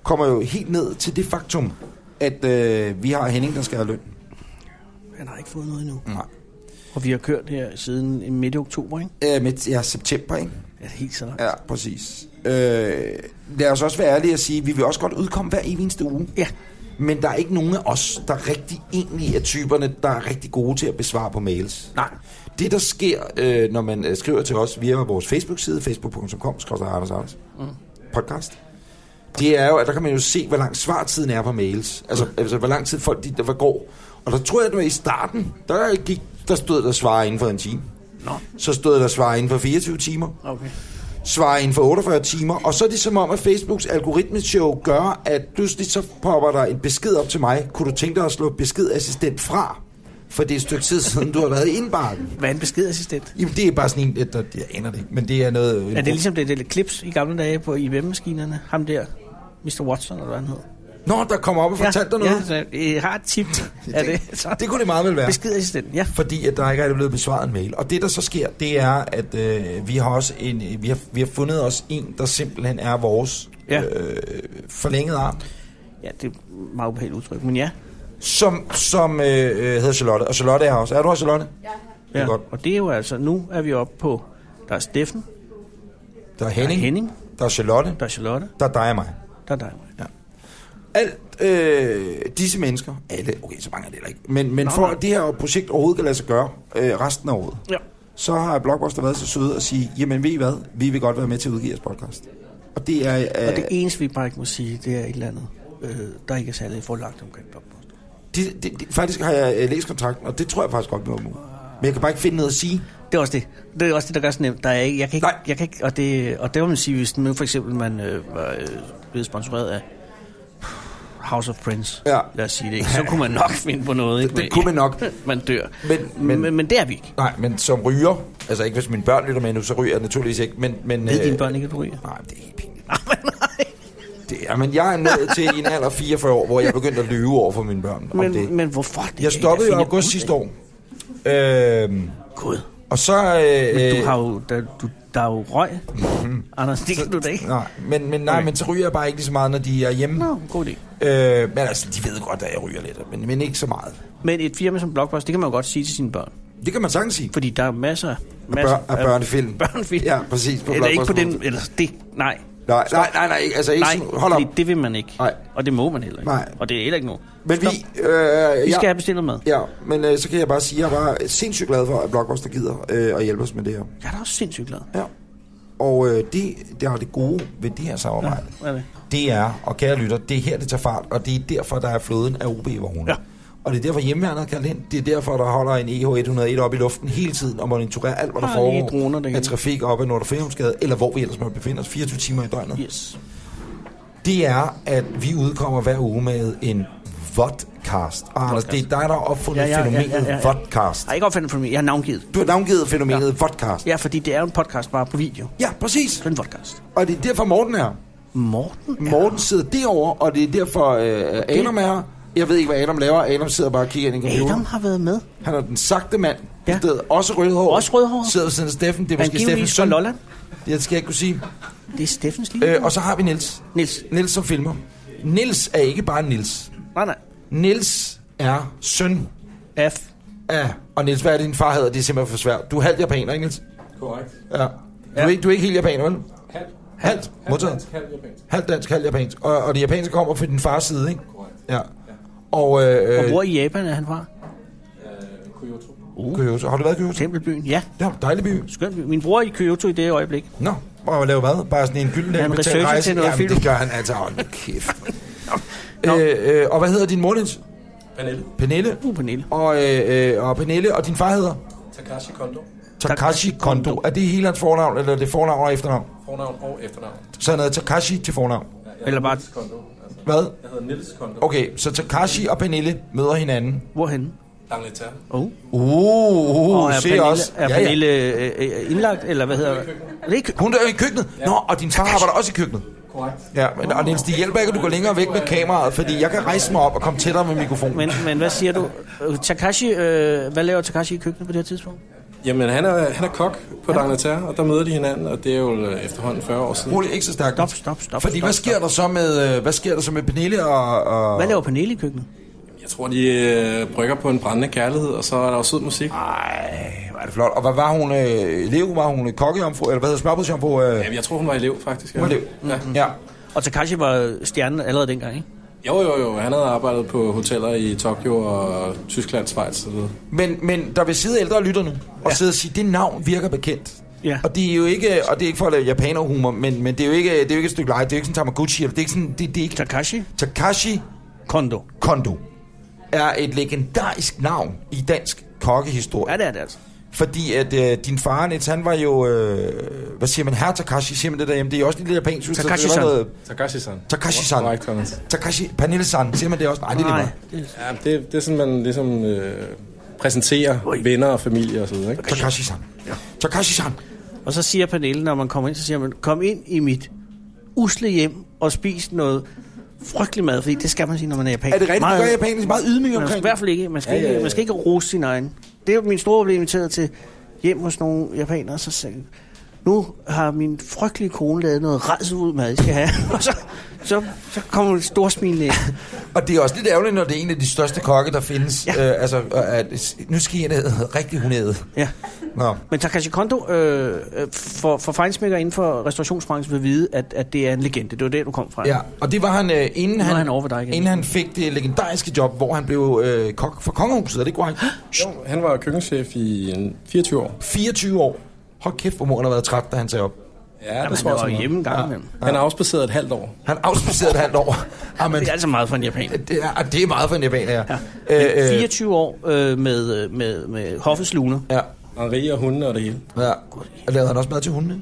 B: kommer jo helt ned til det faktum, at øh, vi har Henning, der skal have løn.
C: Han har ikke fået noget endnu.
B: Nej.
C: Mm. Og vi har kørt her siden midt i oktober, ikke?
B: Øh, med, ja, september, ikke?
C: Ja, det er helt så langt.
B: Ja, præcis. Øh, lad os også være ærlige og sige, at vi vil også godt udkomme hver evig eneste uge.
C: Ja.
B: Men der er ikke nogen af os, der rigtig egentlig er typerne, der er rigtig gode til at besvare på mails.
C: Nej.
B: Det, der sker, øh, når man øh, skriver til os via vores Facebook-side, facebook.com, Anders Anders, mm. podcast, det er jo, at der kan man jo se, hvor lang svartiden er på mails.
C: Mm.
B: Altså, altså hvor lang tid folk de, der går. Og der tror jeg, at i starten, der, gik, der stod der svar inden for en time.
C: Nå,
B: Så stod der svar inden for 24 timer.
C: okay.
B: Svar inden for 48 timer. Og så er det som om, at Facebooks algoritmeshow gør, at pludselig så popper der en besked op til mig. Kunne du tænke dig at slå beskedassistent fra? For det er et stykke tid siden, du har været i indbakken.
C: Hvad er en beskedassistent?
B: Jamen, det er bare sådan en, at der, jeg aner det ikke, men det er noget...
C: Er det ligesom det lille klips i gamle dage på IBM-maskinerne? Ham der, Mr. Watson, eller hvad han hed.
B: Nå, der kommer op og fortalte dig noget.
C: Ja, så jeg har et tip. er det, så?
B: Det kunne det meget vel være.
C: Beskedassistent, ja.
B: fordi at der ikke er blevet besvaret en mail. Og det, der så sker, det er, at øh, vi har også en, vi har, vi har fundet os en, der simpelthen er vores
C: Ja.
B: øh, forlængede arm,
C: Ja, det er et meget ubehageligt udtryk, men ja.
B: som, som øh, øh, hedder Charlotte. Og Charlotte er her også. Er du her, Charlotte? Det er
C: ja.
B: godt.
C: Og det er jo altså, nu er vi oppe på, der er Steffen,
B: Der er
C: der er
B: Henning,
C: Henning,
B: der er Charlotte,
C: der er Charlotte,
B: der er dig og mig.
C: der er dig. Ja.
B: Alt øh, disse mennesker, alle, okay, så mange er det heller ikke, men, men
C: Nå,
B: for
C: nej.
B: at det her projekt overhovedet kan lade sig gøre øh, resten af året,
C: ja.
B: så har Blockbuster været så søde at sige, jamen ved I hvad, vi vil godt være med til at udgive jeres podcast. Og det er... Øh,
C: Og det eneste, vi bare ikke må sige, det er et eller andet, øh, der ikke er særlig forlagt omkring Blockbuster.
B: De, de, de, faktisk har jeg øh, læst kontrakten, og det tror jeg faktisk godt, vi må. Men jeg kan bare ikke finde noget at sige.
C: Det er også det. Det er også det, der gør så nemt. Der er ikke, jeg kan ikke,
B: Nej.
C: jeg kan ikke, og, det, og det må man sige, hvis nu for eksempel man øh, var øh, blevet sponsoreret af House of Prince,
B: Ja.
C: lad os sige det, ikke? så kunne man nok finde på noget. Ikke?
B: Det- det
C: Men-
B: kunne man nok.
C: man dør.
B: Men-
C: Men,
B: men-
C: men, men, men det er vi ikke.
B: Nej, men som ryger, altså ikke hvis mine børn lytter med nu, så ryger jeg naturligvis ikke. Men, men,
C: Ved dine børn ikke, at du ryger?
B: Øh, Nej, det er helt pinligt. Det er, men jeg er nået til i en alder af 44 år, hvor jeg begyndte at lyve over for mine børn om det.
C: Men, men hvorfor? Det kan
B: Jeg stoppede i
C: ikke
B: august
C: finde
B: sidste år. Øhm,
C: ud af. Gud.
B: og så... Øh,
C: Men du har jo, der, du, der er jo røg. Anders, det kan du da ikke.
B: Nej, men, men, nej,
C: Okay.
B: men så ryger jeg bare ikke lige så meget, når de er hjemme.
C: Nå, god idé.
B: Øh, men altså, de ved godt, at jeg ryger lidt, men, men ikke så meget.
C: Men et firma som Blockbuster, det kan man jo godt sige til sine børn.
B: Det kan man sagtens sige.
C: Fordi der er masser, masser
B: Børn, af børnefilm.
C: børnefilm.
B: Ja, præcis.
C: Eller ikke på den,
B: Blockbuster.
C: eller det, nej.
B: Nej, nej, nej, nej, ikke- altså ikke
C: Nej,
B: sådan, hold op.
C: fordi det vil man ikke.
B: Nej.
C: Og det må man heller ikke.
B: Nej.
C: Og det er heller ikke noget.
B: Men vi, øh, ja,
C: Vi skal have bestilt noget mad.
B: ja, men øh, så kan jeg bare sige, at jeg var sindssygt glad for, at Blockbuster gider øh, at hjælpe os med det her.
C: Jeg er da også sindssygt glad.
B: Ja. Og øh, det, der er det gode ved det her samarbejde,
C: Hvad er det?
B: det er, og kære lytter, det er her, det tager fart, og det er derfor, der er floden af OB-vogne.
C: Ja.
B: Og det er derfor, hjemmeværnet er kaldt ind. Det er derfor, der holder en E EH101 op i luften hele tiden og monitorerer alt, hvad der
C: Der er lige droner
B: foregår
C: derhenne.
B: af trafik op ad Nordafriumsgade, eller hvor vi ellers måtte befinde os, 24 timer i døgnet.
C: Yes.
B: det er, at vi udkommer hver uge med en vodcast. Og Anders, det er dig, der har opfundet ja, ja, fænomenet ja, ja, ja. vodcast.
C: Jeg har ikke opfundet for mig. Jeg har navngivet.
B: Du har navngivet fænomenet ja. vodcast. Ja.
C: Ja, fordi det er jo en podcast bare på video.
B: ja, præcis.
C: Det er en podcast.
B: Og det er derfor, Morten er her.
C: Morten? er-
B: Morten sidder derovre, og det er derfor, øh, Adam er her. Jeg ved ikke, hvad Adam laver. Adam sidder bare og kigger ind i computeren.
C: Adam har været med.
B: Han er den sagte mand. Ja.
C: Ja.
B: Stedet. Også rødhåret.
C: Også rødhåret.
B: Sidder ved siden af Steffen. Det er måske Steffens
C: Angiveligvis fra
B: søn.
C: Lolland.
B: Det skal jeg ikke kunne sige.
C: Det er Steffens lige.
B: Øh, og så har vi Nils.
C: Niels.
B: Nils som filmer. Nils er ikke bare Nils.
C: Nej, nej.
B: Nils er søn
C: F.
B: Ja, og Niels, hvad er det, din far hedder? Det er simpelthen for svært. Du er halvt japaner, ikke Niels?
E: Korrekt.
B: Ja. Du, er ikke, du er ikke helt japaner, vel?
E: Halv,
B: Halvt,
E: halv dansk,
B: modtaget.
E: halv japansk.
B: Halvt dansk, halvt japansk. Og, og det japanske kommer fra din fars side, ikke?
E: Korrekt.
B: Ja. Og, øh,
C: Og hvor i Japan er han fra?
E: Øh, Kyoto.
B: øh, Kyoto. Har du været i Kyoto?
C: Tempelbyen. Ja,
B: Ja, dejlig by.
C: skøn by. Min bror er i Kyoto i det øjeblik.
B: Nå, og lave hvad? Bare sådan en gylden
C: Han
B: betalt
C: researcher til noget
B: Jamen,
C: film.
B: det gør han altså. Hold nu kæft. øh, øh, og hvad hedder din mor, Niels?
E: Pernille.
B: Pernille.
C: Uh, Pernille.
B: Og, øh, øh, og Pernille, og din far hedder?
E: Takashi Kondo.
B: Takashi Kondo. Er det hele hans fornavn, eller er det fornavn og efternavn?
E: Fornavn og efternavn.
B: Så han hedder Takashi til fornavn.
E: Ja, jeg
C: Eller
E: hedder
C: bare-
E: Niels Kondo. Altså,
B: Hvad?
E: jeg hedder Niels Kondo.
B: Okay, så Takashi og Pernille møder hinanden.
C: Hvorhenne?
E: D'Angleterre.
C: Oh.
B: Uh, uh,
C: Og er
B: se
C: Pernille,
B: også.
C: er Pernille øh, øh, indlagt, eller hvad hedder det? Er det ikke?
B: Hun er i køkkenet. Ja. Nå, og din far arbejder også i køkkenet.
E: Korrekt.
B: Ja, men, og Niels, det hjælper ikke, at du går længere væk med kameraet, fordi jeg kan rejse mig op og komme tættere med mikrofonen.
C: Men, men hvad siger du? Øh, Takashi, øh, hvad laver Takashi i køkkenet på det her tidspunkt?
E: Jamen, han er, han er kok på D'Angleterre, og der møder de hinanden, og det er jo øh, efterhånden 40 år siden.
B: Rolig, ikke så stærkt.
C: Stop, stop, stop.
B: Fordi
C: stop,
B: hvad sker der så med, øh, hvad sker der så med Pernille og... og...
C: Hvad laver Pernille i køkkenet?
E: Jeg tror, de øh, brygger på en brændende kærlighed, og så er der jo sød musik.
B: Ah. Ej, hvor er det flot. Og hvad var hun? Øh, elev? Var hun øh, kokkejomfru? Eller hvad hedder smørbrødsjomfru? Øh,
E: Jamen, jeg tror, hun var elev, faktisk. Ja.
B: hun var elev. Mm-hmm.
E: Ja.
B: Ja.
C: Og Takashi var stjernen allerede dengang, ikke?
E: Jo, jo, jo. Han havde arbejdet på hoteller i Tokyo og Tyskland, Schweiz og så videre.
B: Men, men der vil sidde ældre lytter nu og sidde og sige, det navn virker bekendt.
C: Ja.
B: Og det er jo ikke, og det er ikke for at lave japanerhumor, men, men det, er jo ikke, det er jo ikke et stykke leje, det er jo ikke sådan Tamaguchi, eller det er ikke sådan, det, det er ikke...
C: Takashi
B: Takashi
C: Kondo.
B: Kondo er et legendarisk navn i dansk kokkehistorie.
C: Ja, det er det altså.
B: Fordi at øh, din far, Nets, han var jo... Øh, hvad siger man? Herre Takashi, siger man det derhjemme. Det er jo også lidt japansk. synes jeg. Det var
C: Takashi-san.
B: noget-
E: Takashi-san.
B: Takashi-san.
E: Right, Thomas.
B: Takashi... Pernille-san, siger man det også? Nej, det er lige meget.
C: det,
E: Ja, det, det er sådan, man ligesom øh, præsenterer venner og familie og så videre, ikke?
B: Takashi-san. Takashi-san.
C: og så siger Pernille, når man kommer ind, så siger man, kom ind i mit usle hjem og spis noget frygtelig mad, fordi det skal man sige, når man er japaner.
B: Er det rigtigt, du gør japanisk meget ydmyg
C: Man skal, I
B: omkring?
C: hvert fald ikke, man skal, ja, ja, ja. Ikke, man skal ikke rose sin egen. Det er jo min store problem inviteret til hjem hos nogle japanere, så sagde jeg, nu har min frygtelige kone lavet noget rejse ud mad, I skal have. og så, så, så kommer det store smil ind.
B: Og det er også lidt ærgerligt, når det er en af de største kokke, der findes.
C: Ja.
B: Øh, altså, og at, nu skal I ned. Rigtig hunede.
C: Ja.
B: Nå.
C: Men Takashi Kondo, øh, øh, for, for fejnsmækker inden for restaurationsbranchen vil vide, at, at det er en legende. Det var der, du kom fra.
B: Ja, og det var han, øh, inden,
C: er
B: han,
C: han over ved dig igen.
B: inden han fik det legendariske job, hvor han blev øh, kok for kongehuset, er det korrekt?
E: Jo, han var køkkenchef i en 24 år.
B: 24 år. Hold kæft, hvor mor han har været træt, da han sagde op.
E: Ja,
C: Jamen, han var hjemme en gang ja. imellem.
E: Han er afspaceret et halvt år.
B: Han afspacerede et halvt år. Amen,
C: Det er altså meget for en japaner.
B: det, er, det er meget for en japaner. Ja. Øh, øh,
C: 24 år øh, med, øh, med, med hoffets luner.
B: ja.
E: Og rige og hunde og det hele.
B: ja. Og lavede han også mad til hundene?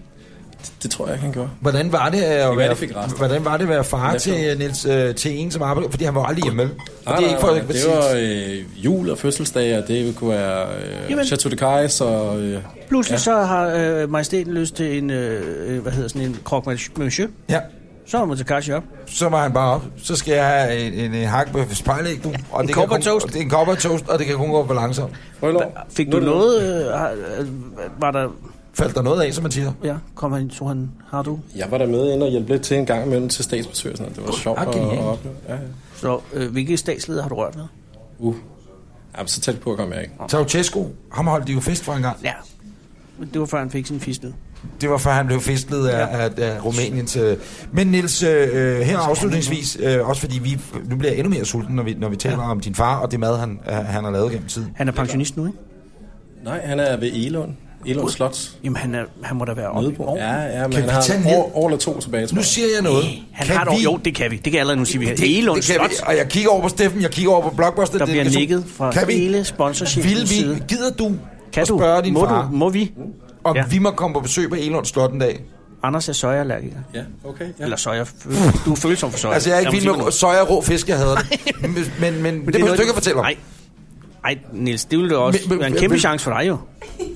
E: Det, det tror jeg ikke, han gjorde.
B: Hvordan var det at
E: kan være, de fik
B: være,
E: rester.
B: hvordan var det at være far
E: Efter.
B: til, Niels, øh, til en, som arbejder? Fordi han var aldrig hjemme. vel? Og det er ikke for at
E: det var øh, jul og fødselsdag, og det kunne være
C: Jamen.
E: øh, Chateau de Cais og... Øh,
C: Pludselig ja. så har øh, majestæten lyst til en, øh, øh, hvad hedder sådan en croque monsieur.
B: Ja,
C: Så er man Takashi op.
B: så var han bare op. Så skal jeg have en, en, en hakbøf spejlæg, du. Og det kan
C: kopper
B: kun-
C: toast.
B: og Det er en kopper toast, og det kan kun gå for langsomt.
E: Rødlov.
C: Fik du noget? Øh, har- øh, var der...
B: Faldt der noget af, som man siger?
C: Ja, kom han, tog han... Har du?
E: Jeg var der med ind og hjælpe lidt til en gang imellem til statsbesøg. og Sådan noget. Det var sjovt
B: ah,
E: at,
B: genialt.
E: at opleve. Ja, ja.
C: Så øh, hvilke statsleder har du rørt ved?
E: Uh. Jamen, så tæt på kom jeg ikke.
B: Ceausescu, ham holdt de jo fest for en gang.
C: Ja. Men det var før han fik sin fistel.
B: Det var før han blev festlet af, af, af Rumæniens... Øh. Men Nils, øh, her afslutningsvis, øh, også fordi vi, nu bliver jeg endnu mere sulten, når vi, når vi taler ja. om din far og det mad, han, øh, han har lavet gennem tiden.
C: Han er pensionist nu, ikke?
E: Nej, han er ved Elund. Elund Slot.
C: Jamen, han, er, han må da være oppe i
E: Nødebo.
C: år.
E: Ja, ja,
B: Kan
E: men han
B: vi
E: har
B: tage
E: et
B: ned?
E: år, år eller to tilbage, tror
B: Nu
E: jeg.
B: siger jeg noget.
C: Han kan har dog, jo, det kan vi. Det kan jeg allerede nu sige, vi har Elund
B: det kan
C: Slot,
B: vi, og jeg kigger over på Steffen, jeg kigger over på Blockbuster.
C: der
B: det-
C: bliver
B: jeg-
C: nikket fra
B: kan vi,
C: hele sponsorchefens
B: Vil
C: side.
B: vi, gider du
C: Kan
B: at
C: du?
B: spørge din
C: må
B: far,
C: Du, må vi?
B: om
C: Ja.
B: vi må komme på besøg på Elund Slot en dag?
C: Anders er søjeallergiker.
E: Ja, okay. Ja.
C: Eller søjer. Du er følsom for søjer.
B: Altså, jeg er ikke
C: Lad mig sige
B: vild
C: det
B: med soja og rå fisk, jeg hader det. Men, men, men, men det, det
C: noget,
B: behøver du ikke at fortælle om.
C: Nej. Ej, Niels, det ville da også
B: Men- men-
C: være en
B: men-
C: kæmpe
B: men-
C: chance for dig jo.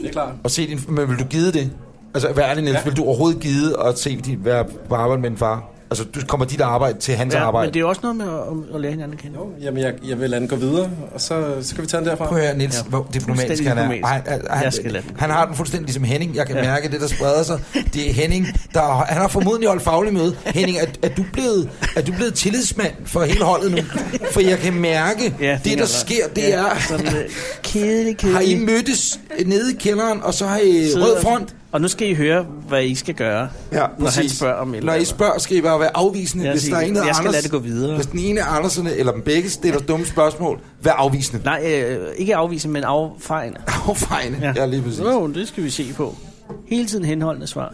E: Det er klart.
B: Og se din, men vil du gide det? Altså, hvad er det, Niels? Ja. Vil du overhovedet gide at se dit, være på arbejde med en far? Altså, du kommer dit arbejde til hans ja,
C: Ja, men
B: arbejde.
C: det er jo også noget med at, om- at lære hinanden at kende.
E: Jo, jamen, jeg, jeg vil lade den gå videre, og så, så kan vi tage den derfra.
B: Prøv at høre, Niels,
C: Ja.
B: ja. hvor diplomatisk
C: Fuldstændig
B: han er.
C: diplomatisk.
B: Ej, han,
C: Jeg skal lade den.
B: han, han har den fuldstændig ligesom Henning. Jeg kan ja. mærke det, der spreder sig. Det er Henning, der han har formodentlig holdt faglig møde. Henning, er, er, du blevet, er du blevet tillidsmand for hele holdet nu? For jeg kan mærke, ja, det, der sker, det ja. er...
C: Sådan, øh, kedelig,
B: Har I
C: kedelig.
B: mødtes nede i kælderen, og så har I
C: Sidder-
B: rød front?
C: Og nu skal I høre, hvad I skal gøre, når han spørger om et
B: Når I
C: eller
B: spørger, skal I bare være afvisende.
C: Jeg
B: hvis
C: siger,
B: der er en, der
C: jeg skal
B: Anders,
C: lade det gå videre.
B: Hvis den ene af Anderserne, eller dem begge, stiller dumme spørgsmål, vær afvisende.
C: andet. Nej, øh, ikke afvise, men affejende.
B: Affejende. Ja. ja, lige præcis.
C: Jo, det skal vi se på. Hele tiden henholdende svar.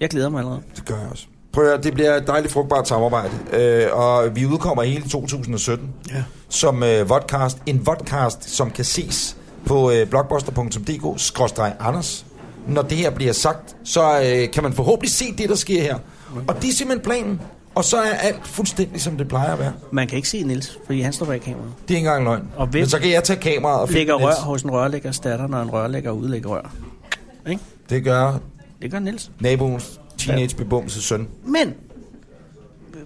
C: Jeg glæder mig allerede.
B: Det gør jeg også. Prøv at høre, det bliver et dejligt frugtbart samarbejde. Øh, og vi udkommer hele 2017 ja. som øh, vodcast. En vodcast, som kan ses på øh, blogbuster.dk-anders. Når det her bliver sagt, så øh, kan man forhåbentlig se det, der sker her.
C: Mm.
B: Og det er simpelthen planen. Og så er alt fuldstændig, som det plejer at være.
C: Man kan ikke se Nils, fordi han står bag kameraet.
B: Det er ikke engang løgn.
C: Og hvem
B: Men så kan jeg tage kameraet og filme
C: Lægger
B: Niels.
C: rør hos en rørlæggers datter, når en rørlægger udlægger rør. Ikke?
B: Det gør
C: Det gør Nils.
B: naboens teenage bebumse søn.
C: Men,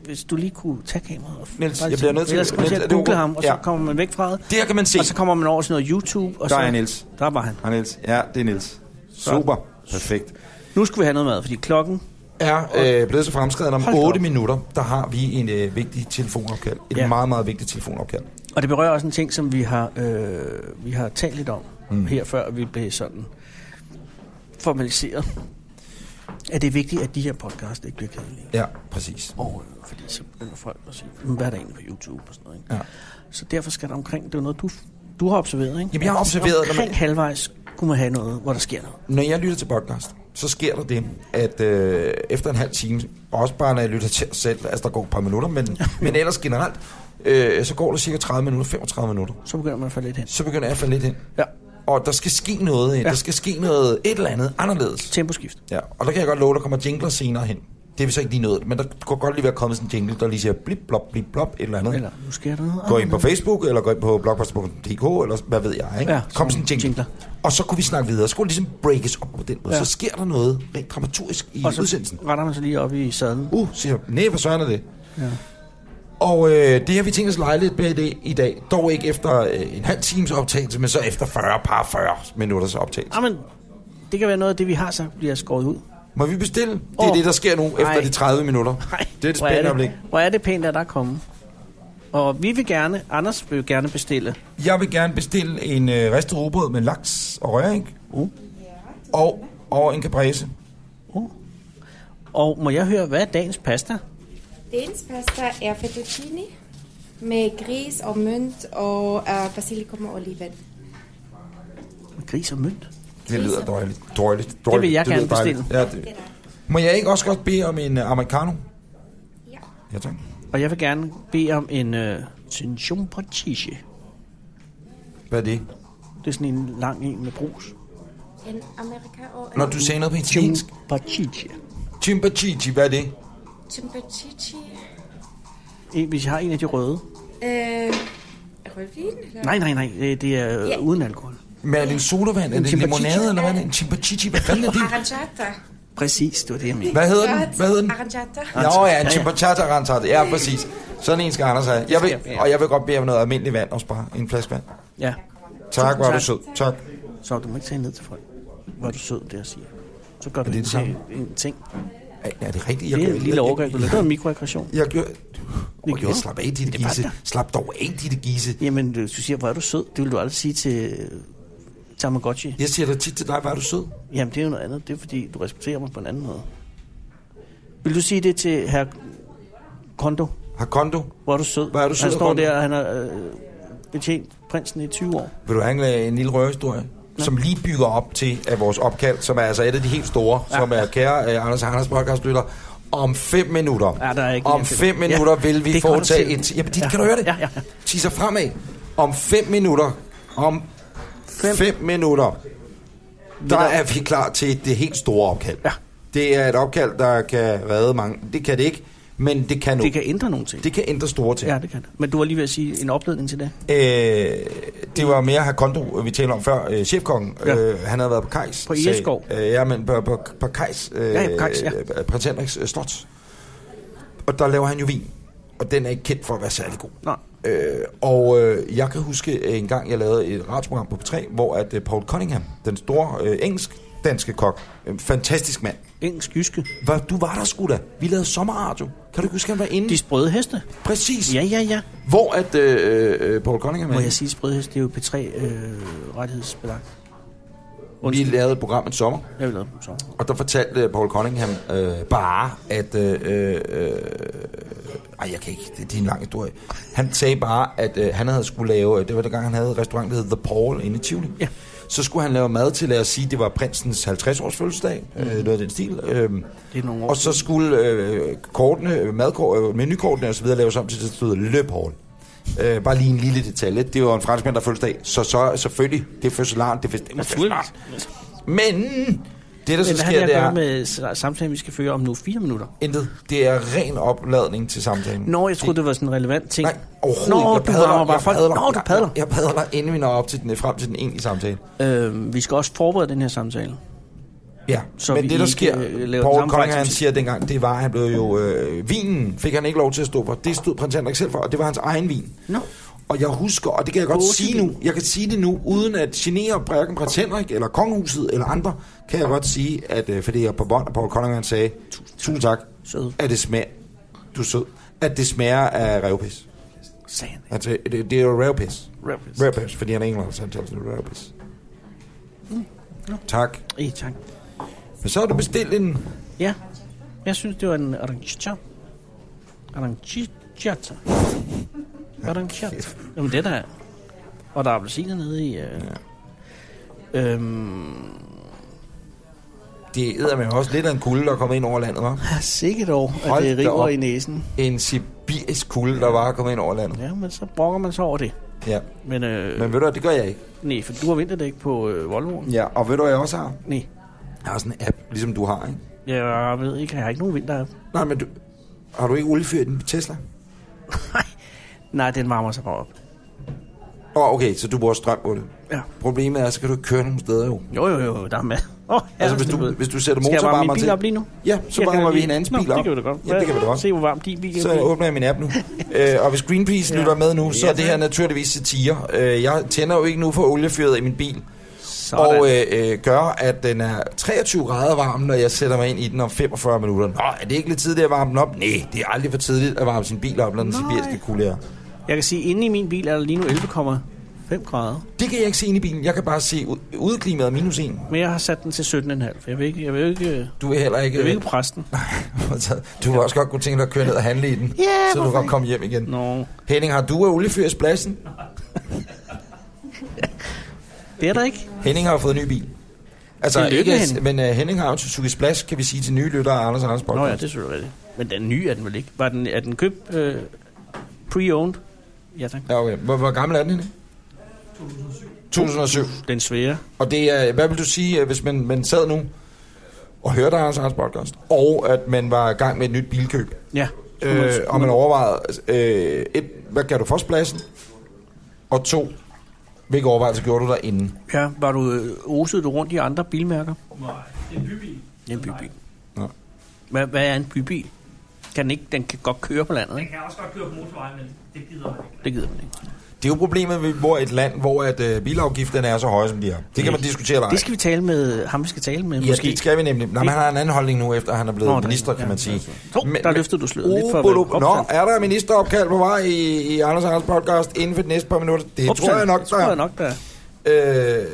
C: hvis du lige kunne tage kameraet og
B: Niels,
C: bare
B: jeg bliver nødt til-
C: Ellers kommer til
B: Niels, er
C: at
B: det
C: google
B: okay?
C: ham, og så
B: Ja.
C: kommer man væk fra det.
B: Det her kan man se.
C: Og så kommer man over til noget YouTube. Og
B: Der
C: så,
B: er Niels.
C: Der var han.
B: Og Niels. Ja, det er Niels. Super. Perfekt.
C: Nu skal vi have noget mad, fordi klokken...
B: Er øh, blevet så fremskreden om
C: Hold da
B: 8
C: op.
B: minutter, der har vi en øh, vigtig telefonopkald. Et
C: Ja.
B: ja. meget, meget vigtigt telefonopkald.
C: Og det berører også en ting, som vi har, øh, vi har talt lidt om mm. her, før vi blev sådan formaliseret. At det er vigtigt, at de her podcast ikke bliver kedelige.
B: Ja, præcis.
C: Og, øh, fordi så begynder folk at sige, "Men hvad er der egentlig på YouTube og sådan noget. Ikke?
B: Ja.
C: Så derfor skal der omkring, det er jo noget, du, du har observeret, ikke?
B: Jamen, jeg har observeret, når man-
C: Omkring halvvejs kunne skulle man have noget, hvor der sker noget.
B: Når jeg lytter til podcast, så sker der det, at øh, efter en halv time, og også bare når jeg lytter til os selv, altså der går et par minutter, men, men ellers generelt, øh, så går der cirka 30 minutter, 35 minutter.
C: Så begynder man at falde lidt hen.
B: Så begynder jeg at falde lidt ind.
C: Ja,
B: Og der skal ske noget, ja. der skal ske noget, et eller andet anderledes.
C: temposkift.
B: Ja, og der kan jeg godt love, der kommer jingler senere hen. Det er vi så ikke lige nået, men der kunne godt lige være kommet sådan en jingle, der lige siger blip, blop, blip, blop, et eller andet.
C: Eller nu sker der noget.
B: Gå ind på Facebook, eller gå ind på blogpost.dk, eller hvad ved jeg, ikke?
C: Ja,
B: Ja, Kom sådan
C: sådan
B: en jingle.
C: jingler.
B: Og så kunne vi snakke videre. Så kunne det ligesom breakes op på den måde.
C: Ja.
B: Ja. Så sker der noget rent dramaturgisk i
C: Og så
B: udsendelsen.
C: retter man sig lige op i sadlen.
B: Uh, siger jeg, nej, hvor søren er det? Ja. Og øh, det har vi tænkt os lege lidt med i dag, i dag. Dog ikke efter øh, en halv times optagelse, men så efter 40, par 40 minutters optagelse.
C: Jamen, det kan være noget af det, vi har, så bliver skåret ud.
B: Må vi bestille? Det er
C: Åh.
B: oh. det, der sker nu efter
C: Ej.
B: de 30 minutter.
C: Nej,
B: Det er det spændende øjeblik.
C: Hvor er det pænt, at der er kommet. Og vi vil gerne, Anders vil gerne bestille.
B: Jeg vil gerne bestille en øh, ristet rugbrød med laks og røring.
C: Uh.
B: Og, og en caprese.
C: Og må jeg høre, hvad er dagens pasta?
F: Dagens pasta er fettuccine med gris og mynt og uh, basilikum og oliven.
C: Med gris og mynt.
B: Det lyder dårligt. Dårligt. dårligt.
C: Det vil jeg
B: lyder
C: gerne
B: dejligt.
C: bestille.
B: Ja, det. Må jeg ikke også godt bede om en uh, americano?
F: Ja.
B: Ja, tak.
C: Og jeg vil gerne bede om en øh, tension potiche.
B: Hvad er det?
C: Det er sådan en lang en med brus.
F: En amerika og
B: Når
F: en
B: du sagde noget på italiensk.
C: Chimpachiche.
B: Chimpachichi, hvad er det?
F: chimpachichi.
C: En, Eh, hvis jeg har en af de røde.
F: Øh, rødvin? Eller?
C: Nej, nej, nej. Det, det er øh,
F: Ja.
C: uden alkohol.
B: Men er det en sodavand? Er det en
C: chimpanzee.
B: limonade, eller hvad er det? En chimpachichi, hvad fanden er det?
F: Aranciata.
C: Præcis, det var det, jeg mente.
B: Hvad hedder den? Hvad hedder den?
F: Aranciata.
B: Nå ja, en chimpachata rantata. Ja, præcis. Sådan en skal Anders have. Jeg vil, og jeg vil godt bede om noget almindeligt vand og spare en flaske vand.
C: Ja,
B: Tak, hvor er du
C: tak.
B: sød. Tak.
C: så du må ikke tage ned til folk. Hvor er du sød, det at sige. Så gør du
B: det
C: det
B: det samme?
C: til en ting.
B: Ej, Er det rigtigt?
C: Det er
B: gjorde-
C: en lille overgang, du
B: Jeg,
C: lavede. Det var en mikroaggression.
B: jeg, jeg, gjorde-
C: Det
B: Åh,
C: gjorde
B: jeg
C: du.
B: slap af, dit
C: Det var
B: gisse.
C: der.
B: Slap dog af, dit gisse.
C: Jamen, du du siger, hvor er du sød. Det vil du aldrig sige til øh, Tamagotchi.
B: Jeg siger da tit til dig, hvor er du sød.
C: Jamen, det er jo noget andet. Det er, fordi du respekterer mig på en anden måde. Vil du sige det til herr Kondo?
B: Har kondo.
C: Hvor er du sød?
B: Hvor er du sød,
C: Han står
B: Kondo?
C: der, og han har øh, betjent prinsen i 20 år.
B: Vil du have en, en lille røvehistorie? som lige bygger op til at vores opkald, som er altså et af de helt store, ja. som er kære uh, Anders og Anders podcastlytter. Om fem minutter,
C: Ja, der er ikke
B: om
C: mere til
B: fem
C: det.
B: minutter
C: Ja,
B: vil vi
C: det kan du
B: foretage
C: se.
B: et... Jamen, dit,
C: Ja.
B: kan du høre det?
C: Ja, ja, ja.
B: Teaser fremad. Om fem minutter, om fem, fem minutter, der er vi klar til det helt store opkald.
C: Ja.
B: Det er et opkald, der kan redde mange. Det kan det ikke, men det kan nu.
C: Det kan ændre nogle ting.
B: det kan ændre store ting.
C: Ja, det kan det. Men du var lige ved at sige en opledning til det.
B: Øh, det var mere Hakondo, vi talte om før. Øh, chefkongen,
C: Ja.
B: ja. øh, han havde været på Kajs.
C: På
B: sag.
C: Egeskov.
B: Øh, ja, men på, på, på Kajs. Øh,
C: Ja, ja, på Kajs, ja.
B: øh, Prins Henriks øh, slot. Og der laver han jo vin. Og den er ikke kendt for at være særlig god.
C: Nej.
B: Øh, og øh, jeg kan huske øh, en gang, jeg lavede et radioprogram på P3, hvor at øh, Paul Cunningham, den store øh, engelsk-danske kok, øh, fantastisk mand.
C: Engelsk jyske.
B: Hvad, du var der sgu da. Vi lavede sommerradio. Kan du ikke huske, han var inde?
C: De sprøde heste.
B: Præcis.
C: Ja, ja, ja.
B: Hvor at øh, øh, Paul Cunningham...
C: Må
B: er-
C: jeg sige sprøde heste? Det er jo øh, P3-rettighedsbelagt.
B: Vi lavede et program en sommer,
C: jeg vil lave dem så.
B: og der fortalte Paul Cunningham øh, bare, at... Øh, øh, øh, ej, jeg kan ikke. Det, det er en lang historie. Han sagde bare, at øh, han havde skulle lave... Det var den gang, han havde et restaurant, der hed The Paul inde i Tivoli.
C: Ja.
B: Så skulle han lave mad til, lad os sige, det var prinsens 50-års fødselsdag. Øh, noget af den stil. Øh,
C: Mhm. Det er nogle år.
B: og så skulle øh, kortene, øh, madkort, øh, menukortene osv. laves om til, at det stod Le Paul. Øh, bare lige en lille detalje. Det var en franskmand, der fødselsdag. Så, så selvfølgelig, det er fødselaren, det er fest- det er fødselaren. Men det, der så
C: Men hvad
B: sker,
C: har det at
B: det er
C: gøre med s- samtalen, vi skal føre om nu fire minutter?
B: intet. Det er ren opladning til samtalen.
C: Nå, jeg troede, det var sådan en relevant ting.
B: Nej, overhovedet
C: Nå,
B: ikke.
C: du rammer bare
B: jeg
C: folk.
B: padler,
C: Nå, du padler.
B: Jeg, jeg padler, inden vi når op til den, frem til den egentlige samtale.
C: Øhm, vi skal også forberede den her samtale.
B: Ja,
C: Så
B: så men
C: vi
B: det der
C: ikke,
B: sker,
C: øh, laver den
B: Paul
C: samme fejl
B: Konger
C: som
B: han
C: sidst.
B: siger dengang, det var, han blev jo, øh, vinen fik han ikke lov til at stå for. Det stod prins Henrik selv for, og det var hans egen vin.
C: Nå.
B: Og jeg husker, og det kan jeg godt
C: Gåsevin.
B: sige nu, jeg kan sige det nu, uden at genere hverken prins Henrik eller kongehuset eller andre, kan jeg godt sige, at øh, fordi jeg på bånd, og Paul Konger han sagde, tusind tak,
C: Sød.
B: at det smager, du er sød, at det smager af revpis.
C: Sagde han.
B: Altså, det, det er jo revpis.
C: Revpis.
B: Revpis, fordi han er englænder, så han taler sådan revpis.
C: Mm.
B: Tak.
C: Ej, tak.
B: Men så har du bestilt en
C: Ja, jeg synes, det var en aranciata. Aranciata. Aranciata. Jamen, det der er. Og der er appelsiner nede i... Øh. Øhm,
B: Det æder med også lidt af en kulde, der kom ind over landet, var.
C: ja, sikkert dog, at
B: Hold
C: det
B: da
C: river
B: op.
C: i næsen.
B: En sibirisk kulde, der var kommet ind over landet.
C: Ja, men så brokker man sig over det.
B: Ja.
C: Men, øh, men...
B: Men ved du, hvad, det gør jeg ikke.
C: nej, for du har vinterdæk på øh, Volvoen.
B: Ja, og ved du, hvad jeg også har?
C: Nej,
B: Jeg har sådan en app, ligesom du har, ikke?
C: jeg ved ikke, jeg har ikke nogen vinter.
B: Nej, men du, har du ikke oliefyr i din Tesla?
C: Nej, den varmer sig bare op.
B: Åh, oh, okay, så du bruger strøm på det.
C: Ja.
B: Problemet er, så kan du ikke køre nogen steder jo.
C: Jo, jo, jo, der er med. Oh, ja,
B: Altså, hvis
C: det
B: du,
C: ved.
B: hvis du sætter
C: Skal jeg varme
B: motorvarmer
C: min bil
B: til...
C: op lige nu?
B: Ja, så
C: Jeg kan
B: varmer vi
C: lige-
B: hinandens
C: Nå,
B: bil op.
C: det kan vi da godt.
B: Ja, det kan vi da godt.
C: Se, hvor varm din bil er.
B: Så åbner jeg min app nu. øh, og hvis Greenpeace
C: Ja.
B: ja. lytter med nu, så
C: Ja,
B: er det her naturligvis satire. Øh, jeg tænder jo ikke nu for oliefyret i min bil.
C: Sådan.
B: Og øh, øh, gør, at den er 23 grader varm, når jeg sætter mig ind i den om 45 minutter. Nå, er det ikke lidt tidligt at varme den op? Nej, det er aldrig for tidligt at varme sin bil op, når den
C: Nej.
B: sibiriske kulde er.
C: Jeg kan sige, at inde i min bil er der lige nu 11,5 grader.
B: Det kan jeg ikke se ind i bilen. Jeg kan bare se ud- udeklimaet minus 1.
C: Men jeg har sat den til 17,5. for Jeg vil ikke, jeg vil ikke, øh,
B: Du vil heller ikke...
C: jeg vil ikke presse den.
B: du vil også godt kunne tænke dig at køre ned og handle i den,
C: Ja,
B: så du
C: hvorfor
B: kan komme hjem igen.
C: Nå,
B: Henning, har du af oliefyrspladsen?
C: det er der ikke.
B: Henning har jo fået en ny bil. Altså,
C: Tillykke,
B: ikke,
C: Henning.
B: men uh, Henning har jo en Suzuki Splash, kan vi sige til nye lyttere af Anders og Anders podcast.
C: Nå ja, det er selvfølgelig rigtigt. Men den nye er den vel ikke? Var den, er den købt øh, pre-owned? Ja, tak.
B: ja okay. hvor, hvor gammel er den, Henning? 2007. 2007.
C: Den svære.
B: Og det er, hvad vil du sige, øh, hvis man, man sad nu og hørte Anders og Anders podcast, og at man var i gang med et nyt bilkøb,
C: Ja. Skulle man-
B: øh,
C: skulle
B: og man
C: man-
B: overvejede, øh, et, hvad gav du først pladsen? Og to, hvilke overvejelser gjorde du der inden?
C: Ja, var du øh, osede du rundt i andre bilmærker?
D: Nej, det er en bybil.
C: Det er en bybil.
B: Nå.
C: Hvad, hvad er en bybil? Kan den, ikke, den kan godt køre på landet,
D: Den
C: ikke?
D: kan også godt køre på motorvejen, men det gider man ikke.
C: Det gider man ikke.
B: Det er jo problemet, ved, hvor et land, hvor at, øh, bilafgifterne er så høje, som de er. Det kan man diskutere eller ej.
C: Det skal vi tale med ham, vi skal tale med,
B: Ja,
C: måske.
B: Måske. det skal vi nemlig. Nå, men han har en anden holdning nu, efter han er blevet
C: Nå,
B: Nå,
C: der-
B: minister, kan
C: ja,
B: man sige.
C: ja. Hov, der løftede du sløret lidt for at være
B: Ubolo- Nå,
C: optaget.
B: er der ministeropkald på vej i, i Anders og Anders podcast inden for de næste par minutter? Det Opsat. tror jeg nok,
C: Det
B: der
C: tror jeg
B: er.
C: nok, der er.
B: Øh,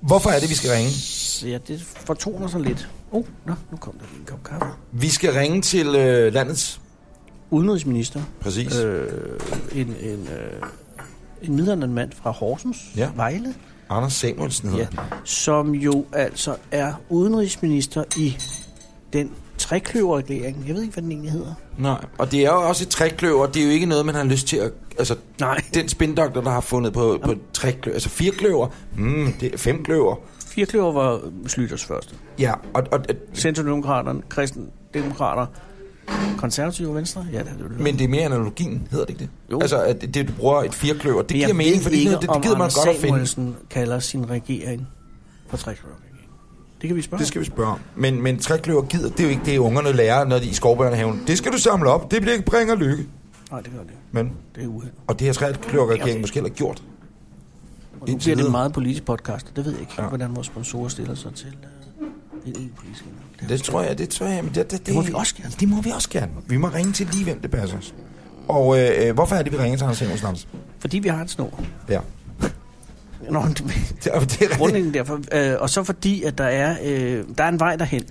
B: hvorfor er det, vi skal ringe?
C: Så ja, det fortoner sig lidt. Oh, nå, nu kom der lige en kop kaffe.
B: Vi skal ringe til øh, landets...
C: Udenrigsminister.
B: Præcis. Øh.
C: Øh, en en, øh, en midaldrende mand fra Horsens,
B: Ja. Mm.
C: Vejle,
B: Anders Samuelsen hedder
C: ja,
B: ja.
C: som jo altså er udenrigsminister i den trekløverregering. Jeg ved ikke, hvad den egentlig hedder.
B: Nej, og det er jo også et trækløver. Det er jo ikke noget, man har lyst til at... Altså,
C: Nej.
B: den spindoktor, der har fundet på, på trækløver... Altså, firekløver. Mm, det er femkløver.
C: Firkløver var Slytters første.
B: Ja, og, og, og
C: Centrumdemokraterne, kristendemokrater, konservative og venstre. Ja, det er det. vel.
B: Men det er mere analogien, hedder det ikke det?
C: Jo.
B: Altså, at det, det, du bruger et firkløver, det
C: Men jeg
B: giver mening,
C: ved
B: fordi
C: ikke,
B: det, det, det gider
C: om
B: man
C: Anders
B: godt at finde.
C: Samuelsen kalder sin regering for trekløverregering. Det kan vi spørge
B: Det
C: om.
B: skal vi spørge om. Men, men trækløver gider, det er jo ikke det, ungerne lærer, når de er i skovbørnehaven. Det skal du samle op, det bliver ikke bringer lykke.
C: Nej, det gør det ikke.
B: Men,
C: Det er uheld.
B: og det har trækløverregeringen måske heller ikke gjort.
C: Og nu
B: Indtil
C: bliver det en
B: videre.
C: meget politisk podcast, og det ved jeg ikke, ja.
B: Ja.
C: hvordan vores sponsorer stiller sig til øh, en en politisk emne. Det
B: Det tror jeg, det tror jeg. Men det, det, det,
C: må vi også gerne.
B: Det må vi også gerne. Vi må ringe til lige, hvem det passer os. Og øh, øh, hvorfor er det, vi ringer til Anders Samuelsen? Anders?
C: er- Fordi vi har en snor.
B: Ja.
C: Nå, men det-
B: Det, er- det er rigtigt.
C: grundlæggende derfor. Øh, og så fordi, at der er, øh, der er en vej derhen.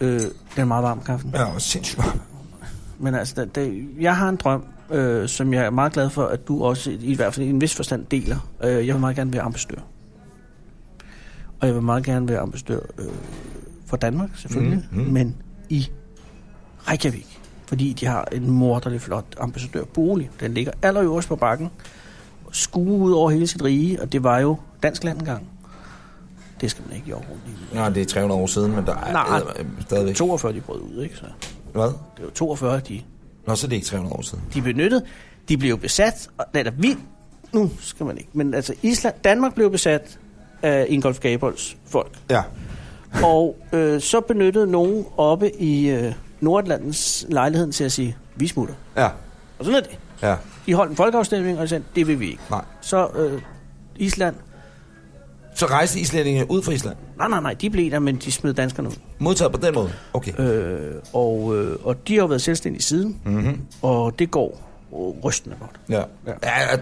C: Øh, den er meget varm, kaffen.
B: Ja, og sindssygt.
C: Men altså, der, der, jeg har en drøm, øh, som jeg er meget glad for, at du også i, i hvert fald i en vis forstand deler. Øh, jeg vil meget gerne være ambassadør. Og jeg vil meget gerne være ambassadør øh, for Danmark, selvfølgelig, mm, mm. men i Reykjavik. Fordi de har en morderlig flot ambassadørbolig. Den ligger allerøverst på bakken, skue ud over hele sit rige, og det var jo dansk land engang. Det skal man ikke i overhovedet.
B: Nå, det er 300 år siden, men der er
C: Nej.
B: eddermame stadigvæk.
C: 42 de brød ud, ikke? Så
B: Hvad?
C: det var 42, de
B: Nå, så er det ikke 300 år siden.
C: de benyttede. De blev besat, og nej, der vi, nu skal man ikke, men altså Island, Danmark blev besat af Ingolf Gabolds folk.
B: Ja.
C: Og øh, så benyttede nogen oppe i øh, Nordatlantens lejligheden til at sige, vi smutter.
B: Ja.
C: Og sådan er det.
B: Ja.
C: De holdt en folkeafstemning, og de sagde, det vil vi ikke.
B: Nej.
C: Så øh, Island,
B: Så rejste islændingene ud fra Island.
C: nej, nej, nej, de blev der, men de smed danskerne ud.
B: Modtaget på den måde. Okay.
C: Øh, og, øh, og de har jo været selvstændige siden, mm-hmm. og det går øh, rystende godt.
B: Ja. ja.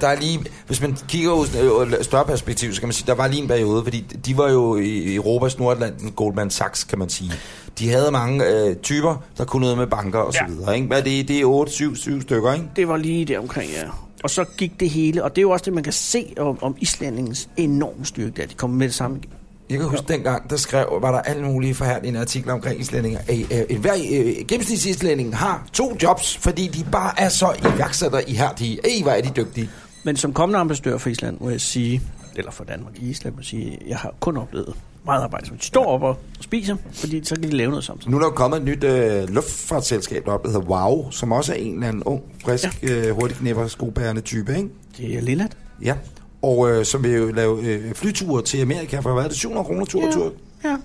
B: Der er lige, hvis man kigger ud øh, større perspektiv, så kan man sige, der var lige en periode, fordi de var jo i Europas Nordatlanten, Goldman Sachs, kan man sige. De havde mange øh, typer, der kunne noget med banker og så
C: Ja.
B: videre. Ikke? Hvad er det? Det er 8, 7, 7 stykker, ikke?
C: Det var lige der omkring, ja. Og så gik det hele, og det er jo også det, man kan se om, om islændingens enorme styrke, der de kommer med det samme igen.
B: Jeg kan huske dengang, der skrev, var der alle mulige forhærdende artikler omkring islændinge. Øh, øh, hver øh, gennemsnitsislænding har to jobs, fordi de bare er så iværksætter i her. De, Ej, hvor er de dygtige.
C: Men som kommende ambassadør for Island må jeg sige, eller for Danmark i Island må jeg sige, jeg har kun oplevet meget arbejde, som de står op og spiser, fordi så kan de lave noget samtidig.
B: Nu er der jo kommet et nyt øh, luftfartsselskab deroppe, der hedder WOW, som også er en eller anden ung, frisk, ja. øh, hurtig knæpper, skobærende type, ikke?
C: Det er lillet.
B: Ja. Og øh, som vil jo lave øh, flyture til Amerika for, hvad er det, 700 kroner tur og tur?
C: ja.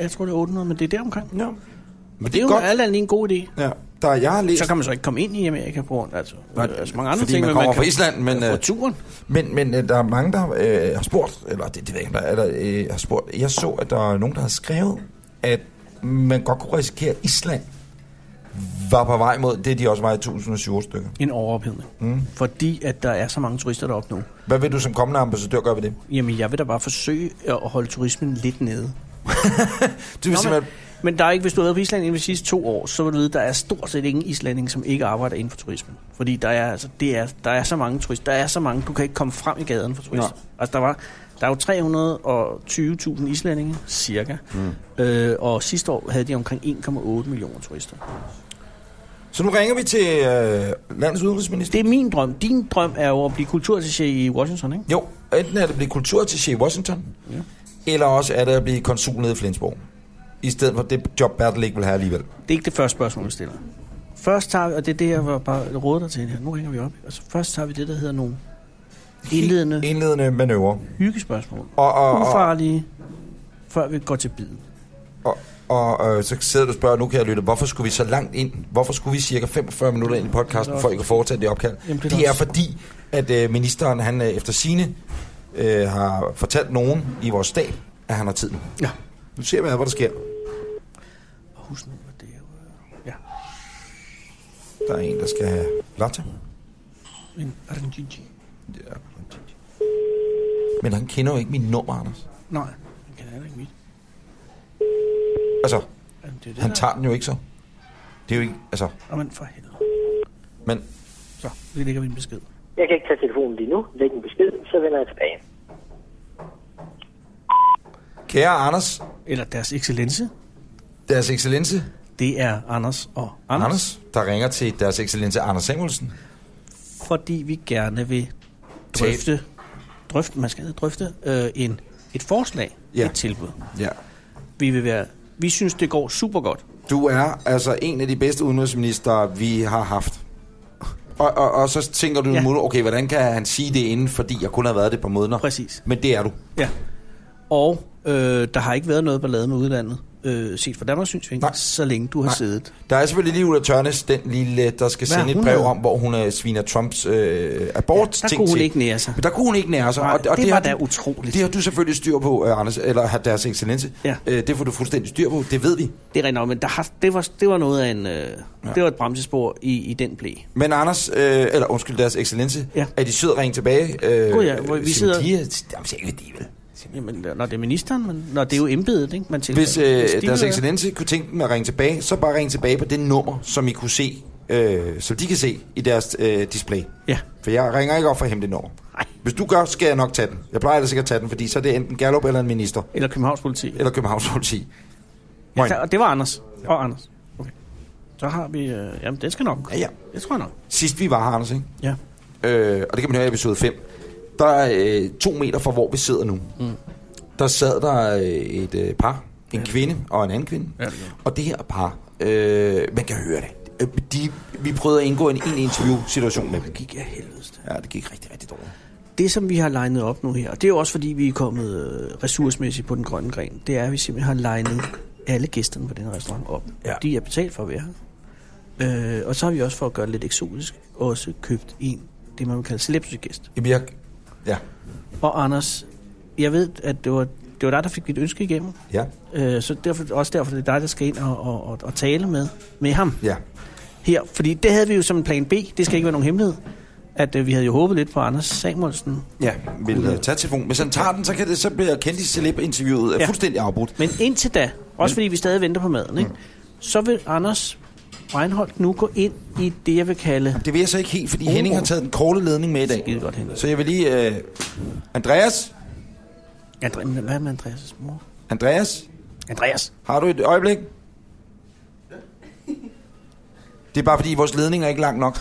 C: Jeg tror, det er 800, men det er der omkring. Det
B: Ja. Men
C: er, det er jo
B: godt.
C: alt andet lige en god idé.
B: Ja. Der, jeg har læst...
C: Så kan man så ikke komme ind i Amerika på grund af altså, Nej, altså mange andre
B: fordi
C: ting.
B: man
C: men
B: kommer fra
C: kan-
B: Island, men,
C: Fra
B: øh,
C: turen.
B: Men, men øh, der er mange, der øh, har spurgt, eller det, det ved jeg ikke, om der er, der, øh, har spurgt. Jeg så, at der er nogen, der har skrevet, at man godt kunne risikere, at Island var på vej mod det, de også var i 1007 stykker.
C: En overophedning. Mm. Fordi at der er så mange turister deroppe nu.
B: Hvad vil du som kommende ambassadør gøre ved det?
C: Jamen, jeg vil da bare forsøge at holde turismen lidt nede.
B: Du vil
C: Nå, men,
B: simpelthen...
C: men der er ikke, hvis du har været på Island inden for de sidste to år, så vil du vide, der er stort set ingen islænding, som ikke arbejder inden for turismen. Fordi der er, altså, det er, der er så mange turister. Der er så mange, du kan ikke komme frem i gaden for turister. Altså, der, var, der er jo 320.000 islændinge, cirka. Mm. Øh, og sidste år havde de omkring 1,8 millioner turister.
B: Så nu ringer vi til øh, landets udenrigsminister.
C: Det er min drøm. Din drøm er jo at blive kulturattaché i Washington, ikke?
B: Jo, enten er det at blive kulturattaché i Washington, ja. eller også er det at blive konsul nede i Flensborg. I stedet for det job, Bertel ikke vil have alligevel.
C: Det er ikke det første spørgsmål, vi stiller. Først tager vi, og det er det, jeg var bare råder dig til her. Nu ringer vi op. Altså, først tager vi det, der hedder nogle indledende
B: Indledende manøvre.
C: hyggespørgsmål.
B: Og, og, og,
C: ufarlige, før vi går til biden.
B: Og, og øh, så sidder du og spørger, nu kan jeg lytte, hvorfor skulle vi så langt ind? Hvorfor skulle vi cirka 45 minutter ind i podcasten,
C: Det er
B: for ikke at foretage det opkald?
C: Jamen, det er
B: Det er
C: også-
B: fordi, at øh, ministeren han øh, efter sine øh, har fortalt nogen i vores stab, at han har tid nu.
C: Ja.
B: Nu ser vi, hvad der sker.
C: Og husk nu, at det er jo øh, ja,
B: Der er en, der skal have latte.
C: en RNGG.
B: Men han kender jo ikke min nummer, Anders.
C: Nej, den kan heller ikke mit.
B: Altså,
C: Jamen, det er det
B: han
C: der.
B: tager den jo ikke så. Det er jo ikke, altså,
C: Nå, men for helvede.
B: men
C: Så, det ligger vi en besked.
G: Jeg kan ikke tage telefonen lige nu. Læg en besked, så vender jeg tilbage.
B: kære Anders,
C: Eller deres excellence.
B: deres excellence,
C: Det er Anders og Anders, Anders.
B: Anders, der ringer til deres excellence Anders Samuelsen.
C: fordi vi gerne vil
B: Tale.
C: drøfte, drøfte man skal hedde drøfte, øh, en, et forslag,
B: Ja.
C: ja. et tilbud.
B: Ja.
C: Vi vil være, vi synes, det går super godt.
B: Du er altså en af de bedste udenrigsminister, vi har haft. Og, og, og så tænker du
C: Ja.
B: ja. muligt, okay, hvordan kan han sige det inden, fordi jeg kun har været det på måneder.
C: Præcis.
B: Men det er du.
C: Ja. Og øh, der har ikke været noget ballade med udlandet, øh, set fra Danmarks
B: Nej.
C: synsvinkel, så længe du har
B: Nej.
C: Nej. siddet.
B: Der er selvfølgelig lige Ulla Tørnes, den lille, der skal
C: Hvad
B: sende
C: har
B: et
C: hun
B: brev
C: lavet?
B: om, hvor hun øh, sviner Trumps øh, abort
C: Ja, der
B: ting
C: kunne hun
B: til.
C: ikke nære sig.
B: Men der kunne hun ikke nære sig.
C: Nej, det
B: har
C: var da
B: du-
C: utroligt.
B: Det har du selvfølgelig styr på, øh, Anders, eller har deres excellence.
C: Ja.
B: Øh, det får du fuldstændig styr på, det ved vi.
C: Det er rigtigt nok, men der har, det, var, det var noget af en... Øh, ja. Det var et bremsespor i, i den blæ.
B: Men Anders, øh, eller undskyld, deres excellence,
C: Ja.
B: er de søde at ringe tilbage? Øh,
C: Gud ja, hvor vi
B: siger
C: sidder-
B: De, er- jamen, siger ikke, hvad de vil.
C: Jamen, når det er ministeren, men når det er jo embedet, ikke? Man tilfælder.
B: Hvis øh,
C: de
B: deres
C: vil-
B: excellence kunne tænke dem at ringe tilbage, så bare ring tilbage på det nummer, som I kunne se, øh, som de kan se i deres øh, display.
C: Ja.
B: For jeg ringer ikke op for at hente det nummer.
C: Nej.
B: Hvis du gør, skal jeg nok tage den. Jeg plejer ellers ikke at tage den, fordi så er det enten Gallup eller en minister,
C: Eller Københavns politi. Eller,
B: eller Københavns politi.
C: ja,
B: Moin.
C: der, og det var Anders. Ja. Og Anders. Okay. Så har vi... Øh, jamen, det skal nok.
B: Ja, ja.
C: Det tror jeg nok.
B: Sidst vi var her, Anders, ikke?
C: Ja.
B: øh, og det kan man høre i episode 5, der er øh, to meter fra, hvor vi sidder nu, mm. der sad der øh, et øh, par, en ja. kvinde og en anden kvinde, ja, det og det her par, øh, man kan høre det, Øh, de, vi prøvede at indgå en en interview-situation med dem.
C: Gik af helvedes.
B: Ja, det gik rigtig, rigtig dårligt.
C: Det, som vi har legnet op nu her, og det er jo også fordi, vi er kommet øh, ressourcemæssigt på den grønne gren, det er, at vi simpelthen har legnet alle gæsterne på den her restaurant op.
B: Ja.
C: De er betalt for at være her. Øh, og så har vi også, for at gøre det lidt eksotisk, også købt en, det man vil kalde celebrity-gæst.
B: Jamen, jeg, ja,
C: Og Anders, jeg ved, at det var, det var dig, der fik dit ønske igennem.
B: ja,
C: Øh, så derfor, også derfor det er dig, der skal ind og, og, og, og tale med, med ham
B: ja.
C: her. Fordi det havde vi jo som en plan B. Det skal ikke være nogen hemmelighed. At øh, vi havde jo håbet lidt på Anders Samuelsen,
B: Ja, vil øh, tage telefonen. Hvis han tager den, så, kan det, så bliver kendis celeb interviewet ja.
C: Ja.
B: fuldstændig afbrudt.
C: Mm. Men indtil da, også fordi vi stadig venter på maden, ikke? så vil Anders Reinholdt nu gå ind i det, jeg vil kalde...
B: Det vil jeg så ikke helt, fordi oh. Henning har taget den korte ledning med i dag.
C: Skide godt, Henning.
B: Så jeg vil lige... Øh, Andreas?
C: Andre, men hvad med Andreas' mor?
B: Andreas?
C: Andreas!
B: Har du et øjeblik? Det er bare fordi, vores ledning er ikke lang nok.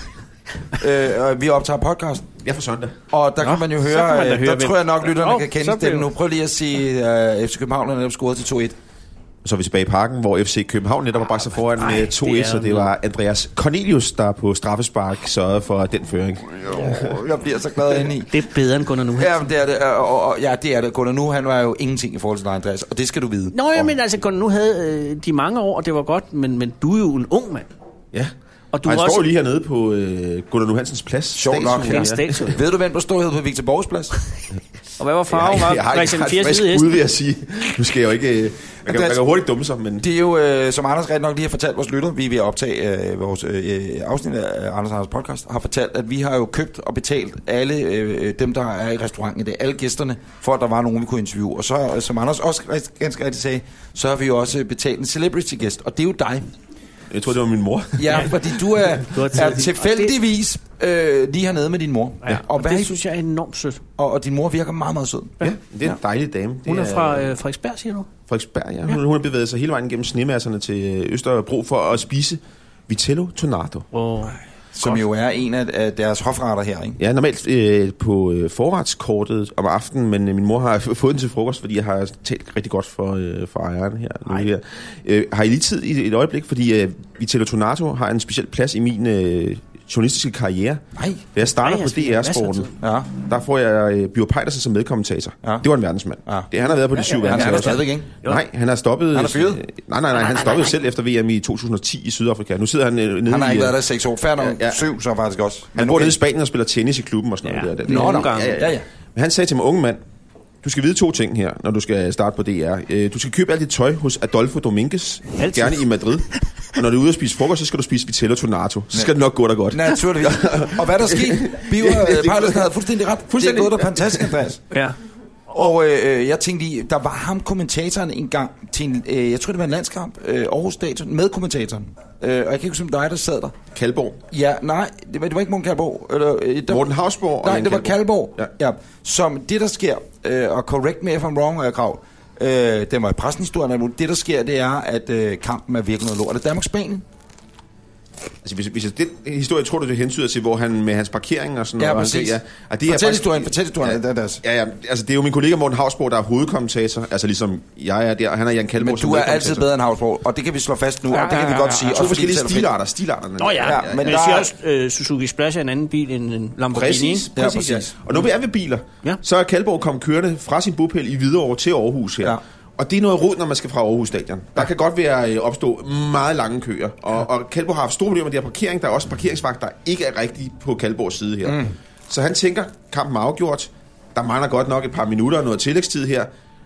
B: øh, og vi optager podcast.
H: Jeg får søndag.
B: Og der Nå, kan man jo
C: så
B: høre,
C: kan man da
B: øh,
C: høre,
B: der
C: hvem-
B: tror jeg nok, lytterne
C: Nå,
B: kan
C: så
B: kende
C: blev-
B: stemmen nu. Prøv lige at sige, øh, FC København er netop scoret til 2-1.
H: Så er vi tilbage i parken, hvor FC København netop har bragt sig foran med 2-1,
C: det er
H: så det var Andreas Cornelius, der på straffespark sørgede for den føring.
B: Oh, jeg bliver så glad indeni.
C: Det er bedre end Gunnar nu.
B: Ja, men det er det. Og, og, og, ja, det er det. Gunnar nu, han var jo ingenting i forhold til dig, Andreas. Og det skal du vide.
C: Nå, jeg men altså, Gunnar nu havde øh, de mange år, og det var godt, men, men du er jo en ung mand.
H: Ja.
C: Og
H: Og
C: du
H: du han
C: er
H: også...
C: også-
H: står lige hernede på øh, Gunnar Nu Hansens plads.
B: Sjovt nok.
C: Det er en statue.
B: Ved du, hvem der stod hed på Victor Borgs plads?
C: Og hvad var farven?
H: Jeg, jeg
C: Var
H: har ikke
C: Christian
H: ret
C: Fiers
H: frisk
C: hvide hest?
H: ud, vil jeg sige. Nu skal jeg jo ikke... Øh, man, kan, man kan hurtigt dumme sig, men...
B: Det er jo, øh, som Anders ret nok lige har fortalt vores lytter, vi er ved at optage øh, vores øh, afsnit af Anders Anders podcast, har fortalt, at vi har jo købt og betalt alle øh, dem, der er i restauranten i dag, alle gæsterne, for at der var nogen, vi kunne interviewe. Og så, øh, som Anders også rigt- ganske rigtigt sagde, så har vi jo også betalt en celebrity-gæst, og det er jo dig.
H: Jeg tror, det var min mor.
B: Ja, fordi du er,
C: Du har
B: er
C: taget din-
B: tilfældigvis øh, lige hernede med din mor.
C: Ja.
B: Og,
C: Og
B: hvad,
C: det synes jeg er enormt sødt.
B: og, og din mor virker meget, meget sød.
H: Ja, det er en dejlig dame. Det
C: Hun er fra
H: øh,
C: øh, Frederiksberg, siger du?
H: Frederiksberg, ja. Hun, hun har bevæget sig hele vejen gennem snemasserne til øh, Østerbro for at spise Vitello Tornado.
C: Åh,
B: Som jo er en af, af deres hofretter her, ikke?
H: Jeg er normalt øh, på øh, forretskortet om aftenen, men øh, min mor har f- fået den til frokost, fordi jeg har talt rigtig godt for, øh, for ejeren her. Nu her. Øh, har I lige tid i et øjeblik? Fordi øh, Vitello Tornato har en speciel plads i min øh, journalistiske karriere.
B: Nej.
H: Da jeg starter
C: Nej, jeg
H: på
C: spiser masser af
H: DR-sporten,
C: tid.
B: Ja.
H: der får jeg øh, Bjørn Pejdersen som medkommentator.
B: Ja.
H: Det var en verdensmand.
B: Ja.
H: Det, han har været på de syv
B: Han er der
H: verdensmandskaber.
B: stadigvæk, ikke?
H: Nej, han har stoppet...
B: Han er fyret?
H: øh, Nej, nej, nej, han stoppede selv efter VM i 2010 i Sydafrika. Nu sidder han øh, nede
B: Han har
H: i,
B: ikke
H: øh,
B: været der i seks år. Færdig ja,
H: Ja,
B: ja.
H: ja.
B: syv, så faktisk også.
H: han bor nede i Spanien og spiller tennis i klubben og sådan noget
C: Ja.
H: der. der.
B: Nå, nå.
C: gange.
B: Ja, ja.
H: Men han sagde til mig, unge mand, du skal vide to ting her, når du skal starte på DR. Øh, Du skal købe alt dit tøj hos Adolfo Dominguez,
C: Altid.
H: gerne i Madrid. Og når du er ude og spise frokost, så skal du spise Vitello Tonato. Så skal det nok gå dig godt.
B: Naturligvis. Og hvad er der skete? Biver
H: Ja, det er
B: øh, Paulsen havde fuldstændig ret. Fuldstændig.
H: Fuldstændig.
B: Det er gået der fantastisk, Andreas.
C: Ja.
B: Og øh, øh, jeg tænkte lige, der var ham kommentatoren en gang til en, øh, jeg tror det var en landskamp, øh, Aarhus Stadion, med kommentatoren. Øh, og jeg kan ikke huske, om dig, der sad der.
H: Kalborg.
B: Ja, nej, det var, det var ikke Morten Kalborg. Eller, øh, der,
H: Morten Hausborg og
B: Nej,
H: Jan
B: det var Kalborg.
H: Kalborg.
B: Ja. ja. Som det, der sker, øh, og correct me if I'm wrong, øh, Grav, øh, den var i pressenhistorien, og alt muligt. det der sker, det er, at øh, kampen er virkelig noget lort. Er det Danmark-Spanien?
H: Altså, hvis, hvis den historie, tror du, det hensyder til, hvor han med hans parkering og sådan
B: Ja,
H: noget. og han
B: præcis.
H: siger, og
B: Fortæl historien, fortæl historien, det er deres.
H: Ja, ja, altså, det er jo min kollega Morten Havsborg, der er hovedkommentator. Altså, ligesom jeg er der, og han er Jan Kalborg
B: Men du er altid bedre end Havsborg, og det kan vi slå fast nu, ja, og det kan vi
C: ja,
B: godt
C: ja,
B: sige.
H: To
B: også fordi
H: forskellige
B: det selv er fedt.
H: stilarter, stilarterne.
C: Nå ja,
B: Ja,
C: ja
B: men
C: men, men
B: der
C: jeg siger
B: er-
C: også, øh, Suzuki Splash er en anden bil end en Lamborghini.
H: Præcis,
C: ikke?
B: Ja,
H: præcis. Ja,
B: præcis.
H: præcis. Og nu er vi er ved biler.
C: Ja.
H: Ja. Så er Kalborg kommet kørende fra sin bopæl i Hvidovre til Aarhus her.
B: Ja.
H: Ja. Og det er noget rod, når man skal fra Aarhus Stadion. Der kan godt være øh, opstå meget lange køer. Og, og Kalborg har haft store problemer med det her parkering. Der er også parkeringsvagt, der ikke er rigtig på Kalborgs side her. Mm. Så han tænker, kampen er afgjort. Der mangler godt nok et par minutter og noget tillægstid her.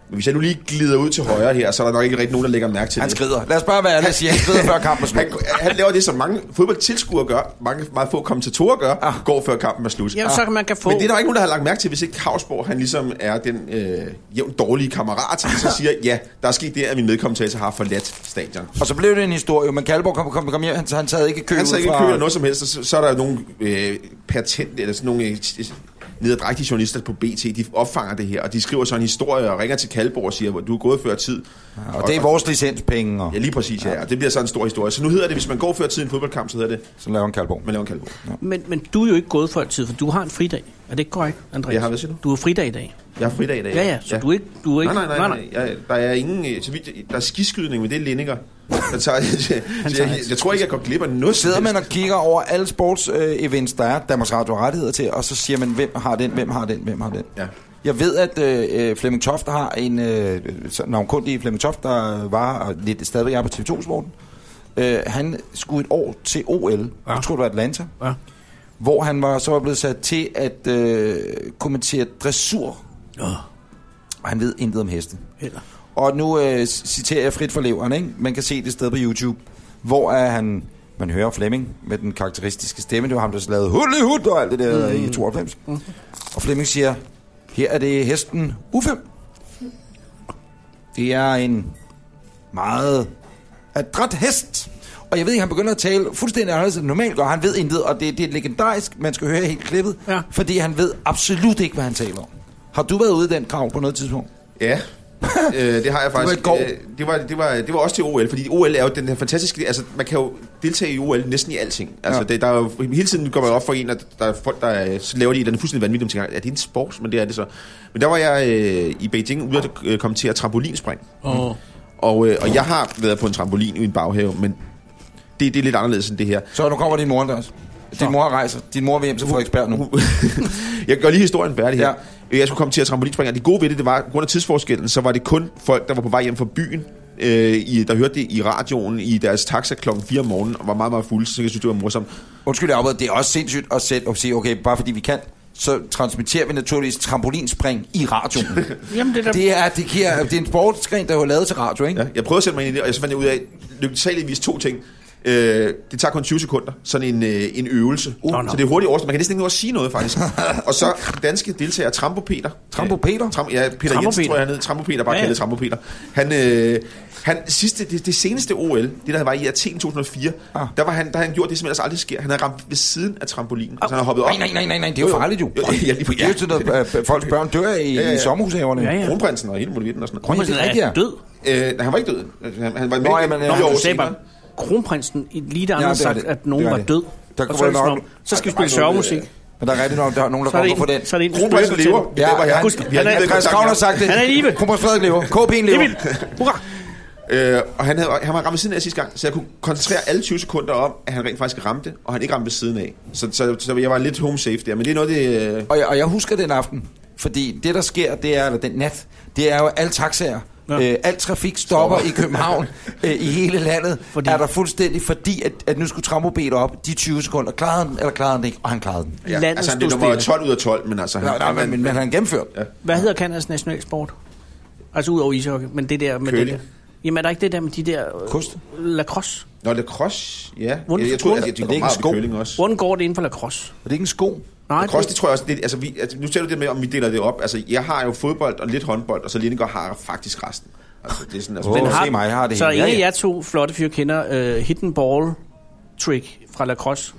H: Men hvis jeg nu lige glider ud til højre her, så er der nok ikke rigtig nogen, der lægger mærke til
B: Han
H: det.
B: skrider. Lad os bare være ærlige og sige, han skrider før kampen er slut.
H: Han, han laver det, som mange fodboldtilskuere gør, mange meget få kommentatorer gør, ah. går før kampen er slut. Ah.
C: Jamen, så kan man kan få...
H: Men det er der ikke nogen, der har lagt mærke til, hvis ikke Havsborg, han ligesom er den øh, jævnt dårlige kammerat, som så siger, ja, der er sket det, at min medkommentator har forladt stadion.
B: Og så blev det en historie, men Kalborg kom, kom, kom hjem, han, han taget ikke kø
H: Han
B: ud
H: så ikke
B: fra...
H: kører noget som helst, og så, så er der nogle øh, patent, eller sådan nogle øh, nederdrægtige journalister på BT, de opfanger det her, og de skriver så en historie og ringer til Kalborg og siger, hvor du er gået før tid.
B: Ja, og det er vores licenspenge, og
H: Ja, lige præcis, ja. Og det bliver så en stor historie. Så nu hedder det, hvis man går før tid i en fodboldkamp, så hedder det,
B: så laver han Kalborg.
H: man laver en Kalborg.
C: Men, men du er jo ikke gået før tid, for du har en fridag. Er det ikke korrekt, Andreas?
H: Jeg har- hvad siger du?
C: Du har fridag i dag.
H: Jeg har fridag i dag.
C: Ja, ja, så du er ikke- du er ikke-
H: Nej, nej, nej.
C: nej, nej.
H: nej. Jeg, der er ingen... øh, Så vidt, der er skiskydning, men det er Lindinger. Der tager, så jeg, jeg, jeg, tror ikke, jeg går glip af noget.
B: Sidder
H: som
B: man
H: helst.
B: og kigger over alle sports-events, der er, Danmarks Radio har rettigheder til, og så siger man, hvem har den, hvem har den, hvem har den.
H: Ja.
B: Jeg ved, at øh, øh, Flemming Toft har en øh, så- navnkundig Flemming Toft, der var og lidt stadigvæk er på TV2-sporten. Øh, han skulle et år til OL, ja. jeg tror det var Atlanta,
C: Ja.
B: hvor han var så var blevet sat til at øh, kommentere dressur.
C: Nå,
B: Og han ved intet om heste.
C: heller.
B: Og nu øh, citerer jeg frit for leveren, ikke? Man kan se det sted på YouTube, hvor er han... Man hører Flemming med den karakteristiske stemme. Det var ham, der lavede hulle hud og alt det der mm. i 92. Mm. Og Flemming siger, her er det hesten U5. Det er en meget af dræbt hest. Og jeg ved ikke, han begynder at tale fuldstændig anderledes end normalt, og han ved intet, og det, det er legendarisk, man skal høre helt klippet,
C: Ja.
B: ja. fordi han ved absolut ikke, hvad han taler om. Har du været ude i den krav på noget tidspunkt?
H: Ja, øh, det har jeg faktisk.
B: et går.
H: Øh, det, var, det, var, det var også til OL, fordi OL er jo den her fantastiske... Altså, man kan jo deltage i OL næsten i alting. Altså,
B: Ja.
H: ja. det, der er jo, hele tiden går man op for en, at der er folk, der øh, så laver de et eller andet fuldstændig vanvittigt om ting. Er det en sport? Men det er det så. Men der var jeg øh, i Beijing ude at øh, kommentere trampolinspring.
E: Og
H: Og, øh, og jeg har været på en trampolin i min baghave, men det, det er lidt anderledes end det her.
B: Så nu kommer din mor der også. Din mor rejser. Din mor vil hjem til Frederiksberg nu.
H: jeg gør lige historien færdig her.
B: Ja.
H: Ja. Jeg skulle komme til at trampolinspringe, og det gode ved det, det var, på grund af tidsforskellen, så var det kun folk, der var på vej hjem fra byen, øh, i, der hørte det i radioen i deres taxa klokken 4 om morgenen, og var meget, meget fulde, så jeg synes, det var morsomt.
B: Undskyld, jeg afbryder. Det er også sindssygt at sætte og sige, okay, bare fordi vi kan, så transmitterer vi naturligvis trampolinspring i radioen.
C: Jamen, det er da...
B: det, er, det, giver, det er en sportsgren, der er lavet til radio, ikke?
H: Ja. Jeg prøvede at sætte mig ind i det, og så fandt jeg ud af, lykkeligvis to ting. Øh, det tager kun 20 sekunder, sådan en, øh, en øvelse. Uh,
C: nå.
H: Så det er hurtigt overstået. Man kan næsten ikke nå at sige noget, faktisk. og så den danske deltager Trampo Peter.
B: Trampo Peter?
H: Tram, ja, Peter
C: Trampo
H: Trampo Jensen,
C: Peter.
H: tror jeg, han hed. Trampo Peter, bare
C: Ja,
H: ja,
C: ja.
H: ja. kaldet Trampo Peter. Han, øh, han sidste, det, det, seneste OL, det der var i Athen 2004,
B: Ah.
H: ah. der, var han, der har han gjort det, som ellers aldrig sker. Han har ramt ved siden af trampolinen. Altså, han har hoppet op.
B: Nej, nej, nej, nej, nej, det er jo
H: Jo, jo.
B: farligt jo.
H: Jo, ja, lige på-
B: Det er jo sådan noget, øh, folks børn dør i, ja, ja, ja. i sommerhushaverne.
C: Ja,
B: Ja,
C: ja.
B: ja.
H: Kronprinsen og hele muligheden og sådan noget.
B: det er rigtigt, ja.
C: er død.
H: Øh, nej, han var ikke død. Han, han var med
B: Nå,
H: i-
B: jamen,
H: ni
B: ja.
H: år
B: Nå,
C: Du sagde
H: senere.
C: bare, kronprinsen, i lige der
B: det er
C: andre sagt,
B: det.
C: at nogen
B: Det er
C: var
B: det.
C: død.
B: Der
C: Og
B: kunne
C: så er det
B: være
C: sådan
B: nok-
C: om, Så skal vi
H: der var
C: spille
H: ikke nogen,
C: sørgemusik.
H: øh,
B: Men der er rigtigt nok, der er nogen, der
C: Så er det
B: kommer
C: en,
B: på den.
C: så er det en
H: Kronprinsen lever.
C: til.
H: Det
B: Ja,
H: var jeg.
B: han-
H: Vi har
C: han er-
H: lige været i
B: Chris
H: kontakt
B: Kravn
H: med
B: har sagt det.
C: Han er i live.
B: Kronprins Frederik lever. KP'en lever.
C: Emil, hurra!
H: Øh, og han, havde, han var ramt ved siden af sidste gang, så jeg kunne koncentrere alle 20 sekunder om, at han rent faktisk ramte, og han ikke ramte ved siden af. Så, så, så jeg var lidt home safe der, men det er noget, det... Øh,
B: Og jeg, og jeg husker den aften, fordi det, der sker, det er, eller den nat, det er jo alle taxaer,
C: Ja.
B: ja. øh, alt trafik stopper i København, øh, i hele landet,
C: Fordi-
B: fordi... er der fuldstændig, fordi at, at nu skulle Trambo bede op de 20 sekunder. Klarede han den, eller klarede han det ikke? Og han klarede den.
H: ja,
C: Landet
H: altså, han blev
C: stod
H: nummer
C: stille.
H: 12 ud af 12, men altså...
B: Nej,
H: Han,
B: nej, men, men, men han gennemførte. Ja.
C: Hvad hedder Kanadas nationalsport? Altså ud over ishockey, men det der med
H: Curling.
C: det der. Jamen er der ikke det der med de der... øh,
B: Kost.
C: Lacrosse.
H: Nå, lacrosse, ja.
C: Hvordan-
H: jeg, jeg tror, at
B: Er det
H: det
B: ikke
H: går
B: en
H: meget op
B: sko?
H: i curling også.
C: Hvordan går det inden for lacrosse?
B: Er det ikke en sko?
C: Nej,
H: Lacrosse,
C: det,
H: det tror jeg også, det, altså, vi, altså, nu ser du det med, om vi deler det op. Altså, jeg har jo fodbold og lidt håndbold, og så Lindegård har faktisk resten. Altså, det er sådan, altså,
B: Åh,
H: den har...
B: se mig, jeg har det
C: så
B: hele.
C: ingen
B: Ja,
C: af
B: ja.
C: jer to flotte fyre kender uh, hidden ball trick fra lacrosse,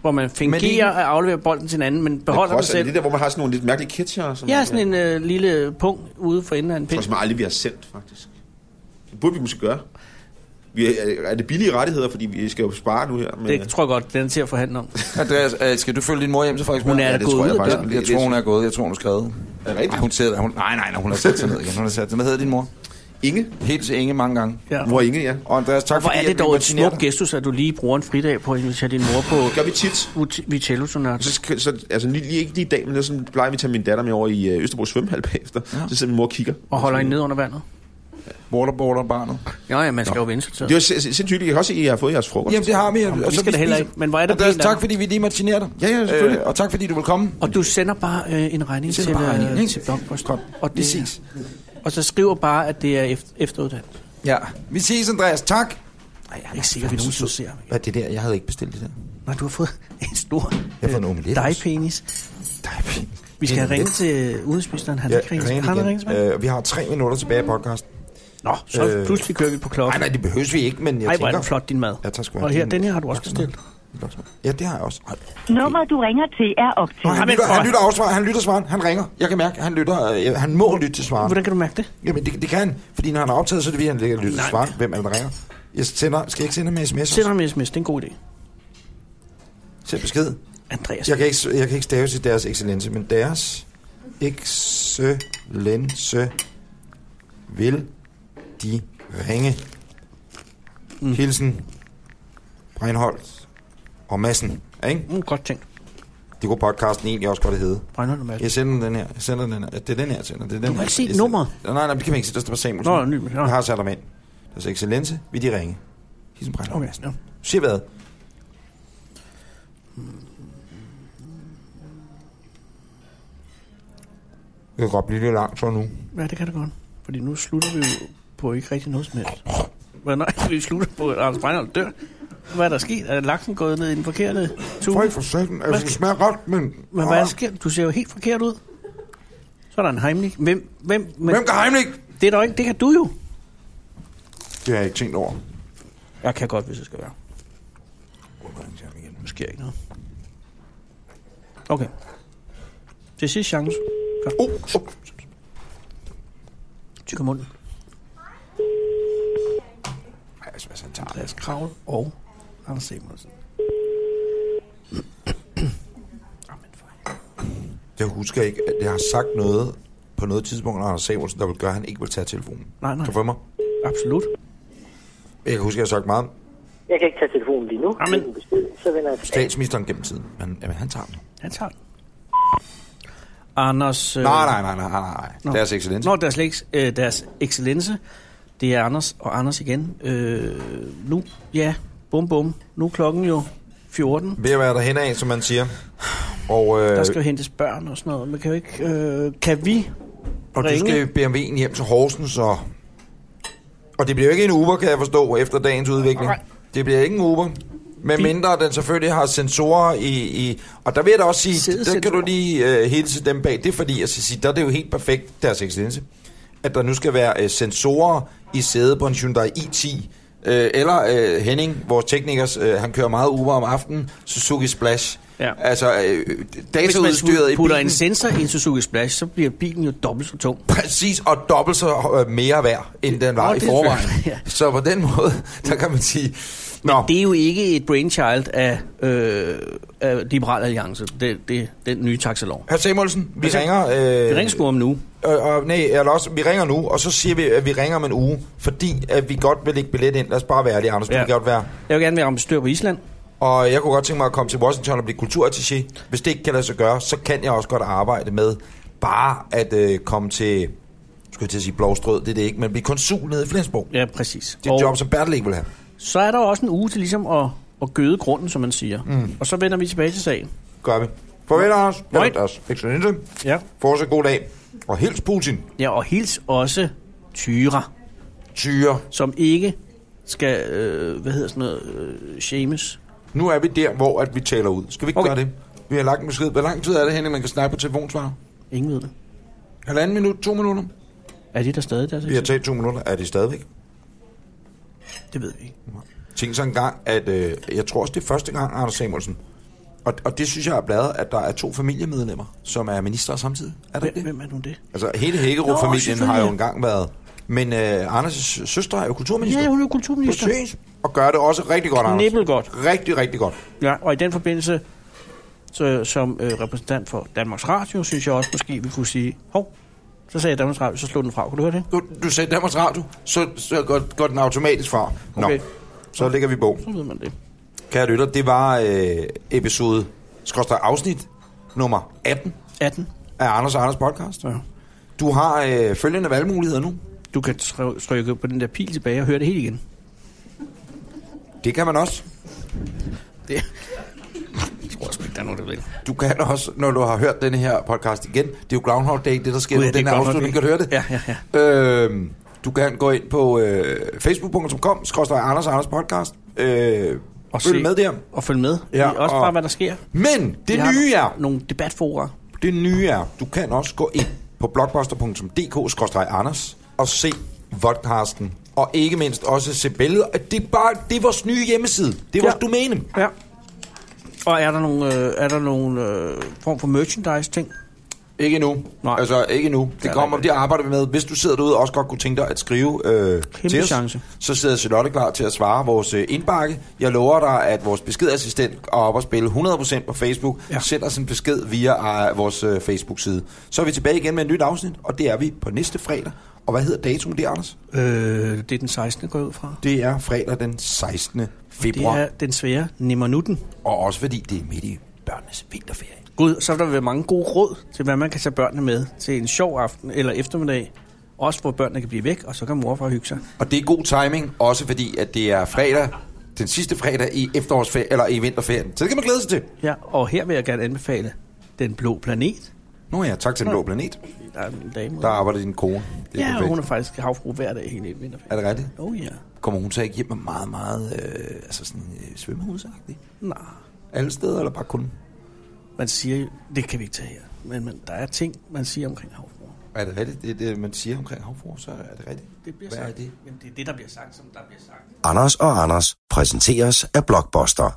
C: hvor man fingerer at aflevere bolden til en anden, men beholder den
H: Lacrosse, er
C: selv.
H: det der, hvor man har sådan nogle lidt mærkelige catcher? Som
C: Ja, sådan en uh, lille punkt ude for enden af en
H: Jeg tror
C: pind.
H: simpelthen aldrig, vi har sendt, faktisk. Det burde vi måske gøre. Vi er, er det billige rettigheder, fordi vi skal jo spare nu her? Men,
C: Det tror jeg godt, den er til at forhandle om.
B: Andreas, øh, skal du følge din mor hjem til Frederiksberg?
C: Hun er
H: ja,
C: da
H: det
C: gået
H: tror
C: ud
H: jeg
C: af
H: faktisk.
C: døren.
H: Det-
B: Jeg tror, hun er gået. Jeg tror, hun er skrevet.
H: Er det rigtigt?
B: Ej, hun sidder, hun, nej, nej, nej, hun har sat sig ned igen. Hun har sat sig. Hvad hedder din mor?
H: Inge?
B: Helt til Inge mange gange.
C: Ja.
H: Mor Inge, ja.
B: Og Andreas, tak
C: Hvor
B: fordi
C: er
B: at
C: det
B: vi
C: dog et
B: måtte signere
C: smukt
B: dig.
C: gestus, at du lige bruger en fridag på at invitere din mor på
H: Gør vi tit.
C: Ut- Vitello-sonat.
H: Så, skal- så, altså lige, lige, ikke lige i dag, men det er sådan, plejer vi at tage min datter med over i øh, Østerbro svømmehal bagefter. Ja. Så sidder min mor og kigger.
C: Og holder hende ned under vandet.
B: Waterboarder barnet.
C: Ja, ja, man skal jo vende sig til.
H: Det er jo sin- sin- sindssygt hyggeligt. Jeg kan også se, at I har fået jeres frokost.
B: Jamen, det har vi.
C: vi skal da heller ikke, men hvor er det
B: Andreas,
C: pænt af
B: tak
C: dig.
B: fordi vi lige måtte signere dig.
H: Ja, ja, selvfølgelig.
B: og tak fordi du vil komme.
C: Og du sender bare øh, en regning
B: Sender
C: til,
B: bare
C: øh,
B: regningen, ikke?
C: til Blockbuster.
B: Godt.
C: Og,
B: Vi ses.
C: det, og så skriver bare, at det er efter, efteruddannet.
B: Ja. Vi ses, Andreas. Tak.
C: Nej, jeg er ikke sikker, at vi nogensinde ser ham.
B: Hvad er det der? Jeg havde ikke bestilt det der.
C: Når du har fået en stor
B: Jeg har fået en omelet også.
C: dejpenis.
B: Nej, pænt.
C: Vi skal
B: Det er
C: have ringe
B: lidt.
C: til udenspidseren. Han
B: Ja,
C: ja, ikke ringet.
B: ringe
C: Har han
B: igen.
C: ringet tilbage?
B: Øh, vi har tre minutter tilbage i podcasten.
C: Nå, så
B: øh,
C: pludselig kører vi på klokken.
B: Nej, nej, det behøves vi ikke, men jeg
C: Ej,
B: tænker...
C: hvor er den flot, din mad.
B: Ja, tak skal du have.
C: og her,
B: Din-
C: den her har du også
B: Loksmad.
C: bestilt.
B: Loksmad. Ja, det har jeg også. Ej.
I: Nummeret, du ringer til, er
B: Nå,
I: optaget.
B: han,
C: men
B: lytter,
C: for-
B: han lytter afsvar, han lytter svaren, han ringer. Jeg kan mærke, at han lytter, øh, han må lytte til svaren.
C: Hvordan kan du mærke det?
B: Jamen, det, det kan han, fordi når han er optaget, så er det fordi, han ligger og lytter til svaren. Hvem er det, der ringer? Jeg sender, skal jeg ikke sende ham en sms?
C: Send ham en sms, det er en god idé.
B: Send besked.
C: Andreas.
B: Jeg kan ikke, jeg kan ikke stave til deres excellence, men deres excellence vil de ringe. Mm. Hilsen, Breinholt og Massen. Ja, ikke?
C: Mm, godt tænkt.
B: Det kunne podcasten egentlig også godt hedde.
C: Brænder du med?
B: Jeg sender den her. Jeg sender den her. Det er den her, jeg sender. Det er den
C: må
B: her.
C: ikke se
B: Jeg sender-
C: nummeret.
B: Nej, nej, det kan man ikke se. Der står Samuelsen.
C: Nå, ny- nå.
B: Jeg har sat dem ind. Deres excellence vil de ringe. Hilsen, Breinholt og
C: Okay,
B: Madsen.
C: ja.
B: Du siger hvad? Det kan godt blive lidt langt så nu.
C: Ja, det kan det godt. Fordi nu slutter vi jo på ikke rigtig noget som helst. Hvad nej, vi slutter på, at Anders Breinholt dør. Hvad er der sket? Er laksen gået ned i den forkerte
B: Prøv
C: tube?
B: for satan. Altså, det smager godt, men...
C: Men hvad sker? der? Du ser jo helt forkert ud. Så er der en heimlich. Hvem, hvem, men,
B: Hvem kan Heimlich?
C: Det er der ikke, det kan du jo.
B: Det har jeg ikke tænkt over.
C: Jeg kan godt, hvis jeg skal være.
B: igen.
C: Nu sker ikke noget. Okay. Det er sidste chance. Godt. Oh, oh. Tykker munden.
B: Ej, altså, altså, han tager det.
C: Andreas Kravl og Anders Samuelsen. Amen, for helvede.
B: Jeg husker ikke, at jeg har sagt noget på noget tidspunkt, når Anders Samuelsen, der vil gøre, at han ikke vil tage telefonen.
C: Nej, nej.
B: Kan du følge mig?
C: Absolut.
B: Jeg kan huske, at jeg har sagt meget om
G: Jeg kan ikke tage telefonen lige nu.
C: Jamen.
G: Læg en besked, så vender jeg tilbage.
B: statsministeren gennem tiden, men jamen, han tager den.
C: Han tager den. Anders... Øh,
B: Nej, nej, nej, nej, nej, nej.
C: Nå.
B: Deres excellens.
C: Nå, deres, leks- øh, deres excellence. Det er Anders og Anders igen. Øh, nu, ja, bum bum. Nu er klokken jo 14.
B: Ved at være derhen af, som man siger. Og, øh,
C: Der skal jo hentes børn og sådan noget. Man kan jo ikke... Øh, kan vi
B: og du
C: ringe.
B: skal BMW'en hjem til Horsens, og... Og det bliver jo ikke en Uber, kan jeg forstå, efter dagens udvikling.
C: Nej.
B: Det bliver ikke en Uber. Men mindre den selvfølgelig har sensorer i, i... Og der vil jeg da også sige, der kan
C: Sædesensorer.
B: du lige øh, hilse dem bag. Det er fordi, jeg skal sige, der er det jo helt perfekt, deres eksistence, at der nu skal være øh, sensorer i sædet på en Hyundai i10. Øh, eller øh, Henning, vores teknikers, øh, han kører meget Uber om aftenen, Suzuki Splash.
C: Ja.
B: Altså, øh,
C: Hvis man
B: dataudstyret i
C: putter
B: bilen.
C: en sensor i en Suzuki Splash, så bliver bilen jo dobbelt så tung.
B: Præcis, og dobbelt så øh, mere værd, end den var
C: Nå,
B: i
C: det er
B: forvejen.
C: selvfølgelig, ja.
B: Så på den måde, der kan man sige... Nå,
C: Det er jo ikke et brainchild af, øh, af Liberal Alliance, det, det, den nye taxalov.
B: hr. Samuelsen, vi
C: Altså,
B: ringer... Øh,
C: Vi ringer sgu om nu.
B: øh, øh, nej, eller også, vi ringer nu, og så siger vi, at vi ringer om en uge, fordi at vi godt vil lægge billet ind. Lad os bare være ærlige, Anders, ja.
C: Ja.
B: det kan godt være.
C: Jeg vil gerne være ambassadør på Island.
B: Og jeg kunne godt tænke mig at komme til Washington og blive kulturattaché. Hvis det ikke kan lade sig gøre, så kan jeg også godt arbejde med bare at øh, komme til... Skulle jeg til at sige Blåstrød, det er det ikke, men blive konsul nede i Flensborg.
C: Ja, præcis.
B: Det er et job, som Bertel ikke vil have.
C: så er der jo også en uge til ligesom at, at gøde grunden, som man siger. Mm. Og så vender vi tilbage til sagen.
B: Gør vi. Farvel, Anders.
C: Moin.
B: Eller Anders. Excellente.
C: Ja.
B: Fortsat god dag. Og hils Putin.
C: ja og hils også Tyra,
B: Tyre.
C: som ikke skal, øh, hvad hedder sådan noget, øh, shames.
B: Nu er vi der, hvor at vi taler ud. Skal vi ikke
C: Okay.
B: okay. gøre det? Vi har lagt en besked. Hvor lang tid er det, Henning, man kan snakke på telefonsvarer?
C: Ingen ved det.
B: Halvanden minut? To minutter?
C: Er de der stadig der?
B: Vi har taget to minutter. Er det stadigvæk?
C: Det ved vi ikke.
B: Tænk så engang, at øh, jeg tror også, det er første gang, Anders Samuelsen. Og, og det synes jeg er bladet, at der er to familiemedlemmer, som er ministre samtidig. Er det ikke
C: Hvem,
B: det?
C: hvem er nu det?
B: Altså, hele Hækkerup-familien
C: Nå,
B: har jo
C: selvfølgelig.
B: engang været... Men øh, Anders' søster er jo kulturminister.
C: Ja, hun er jo kulturminister.
B: Præcis. Og gør det også rigtig godt, Anders.
C: Knibbelgodt.
B: Rigtig, rigtig godt.
C: Ja, og i den forbindelse, så, som øh, repræsentant for Danmarks Radio, synes jeg også måske, vi kunne sige, hov, så sagde Danmarks Radio, så slog den fra. Kunne du høre det?
B: Du, du sagde Danmarks Radio, så, så går, går den automatisk fra. Nå,
C: Okay.
B: okay. så lægger vi på.
C: Så ved man det.
B: Kære lytter, det var øh, episode, skorstræk afsnit, nummer 18
C: 18.
B: af Anders og Anders podcast.
C: Ja.
B: Du har øh, følgende valgmuligheder nu.
C: Du kan try- trykke på den der pil tilbage og høre det helt igen.
B: Det kan man også.
C: Det. Jeg tror sgu ikke, der er nogen, der ved det.
B: Du kan også, når du har hørt denne her podcast igen. Det er jo Groundhog Day, det der sker
C: Gud,
B: nu.
C: ja, det er
B: den her
C: Groundhog
B: afslutning.
C: Day.
B: Kan du høre det?
C: Ja, ja, ja.
B: Øhm, du kan gå ind på øh, facebook.com, skorstræk Anders og Anders podcast. Øh, og følg
C: se-
B: med der.
C: Og følge med.
B: Ja,
C: Ja, også
B: og-
C: bare, hvad der sker.
B: Men det
C: Vi har
B: nye er,
C: Nogle debatforer.
B: Det nye er, du kan også gå ind på blogbuster.dk-anders og se vodcasten. Og ikke mindst også se billeder. Det er bare, det er vores nye hjemmeside. Det er vores
C: Ja.
B: domæne.
C: Ja. Og er der nogle, øh, er der nogle øh, form for merchandise-ting?
B: Ikke nu.
C: Nej.
B: Altså, ikke nu. Det
C: Ja,
B: kommer,
C: nej.
B: det arbejder vi med. Hvis du sidder derude og også godt kunne tænke dig at skrive øh, til os,
C: chance.
B: så sidder Charlotte klar til at svare vores øh, indbakke. Jeg lover dig, at vores beskedassistent er oppe og spille 100% på Facebook. Ja.
C: Ja.
B: Send os en besked via øh, vores øh, Facebook-side. Så er vi tilbage igen med et nyt afsnit, og det er vi på næste fredag. Og hvad hedder datoen det, Anders?
C: Øh, det er den 16. går jeg ud fra.
B: Det er fredag den 16.
C: Det
B: februar,
C: er den svære Nimmernutten.
B: og også fordi det er midt i børnenes vinterferie.
C: Gud, så vil der være mange gode råd til, hvad man kan tage børnene med til en sjov aften eller eftermiddag. Også hvor børnene kan blive væk, og så kan mor og far hygge sig.
B: Og det er god timing, også fordi at det er fredag, den sidste fredag i efterårsferien, eller i vinterferien. Så det kan man glæde sig til.
C: Ja, og her vil jeg gerne anbefale Den Blå Planet.
B: Nå ja, tak til den blå planet.
C: Der er min dame.
B: Der arbejder din kone. Det er
C: ja,
B: perfekt.
C: hun er faktisk havfru hver dag hele
B: Er
C: vinterferien.
B: det rigtigt?
C: Oh ja.
B: Kommer hun så ikke hjem med meget, meget øh, altså sådan, øh, svømmehusagtigt?
C: Nej.
B: Alle steder, eller bare kun?
C: Man siger jo, det kan vi ikke tage her, men man, der er ting, man siger omkring havfruer.
B: Er det rigtigt, det, det man siger omkring havfruer, så er det rigtigt?
C: Det bliver
B: Hvad
C: sagt.
B: er det?
C: Jamen, det er det, der bliver sagt, som der bliver sagt.
A: Anders og Anders præsenteres af Blockbuster.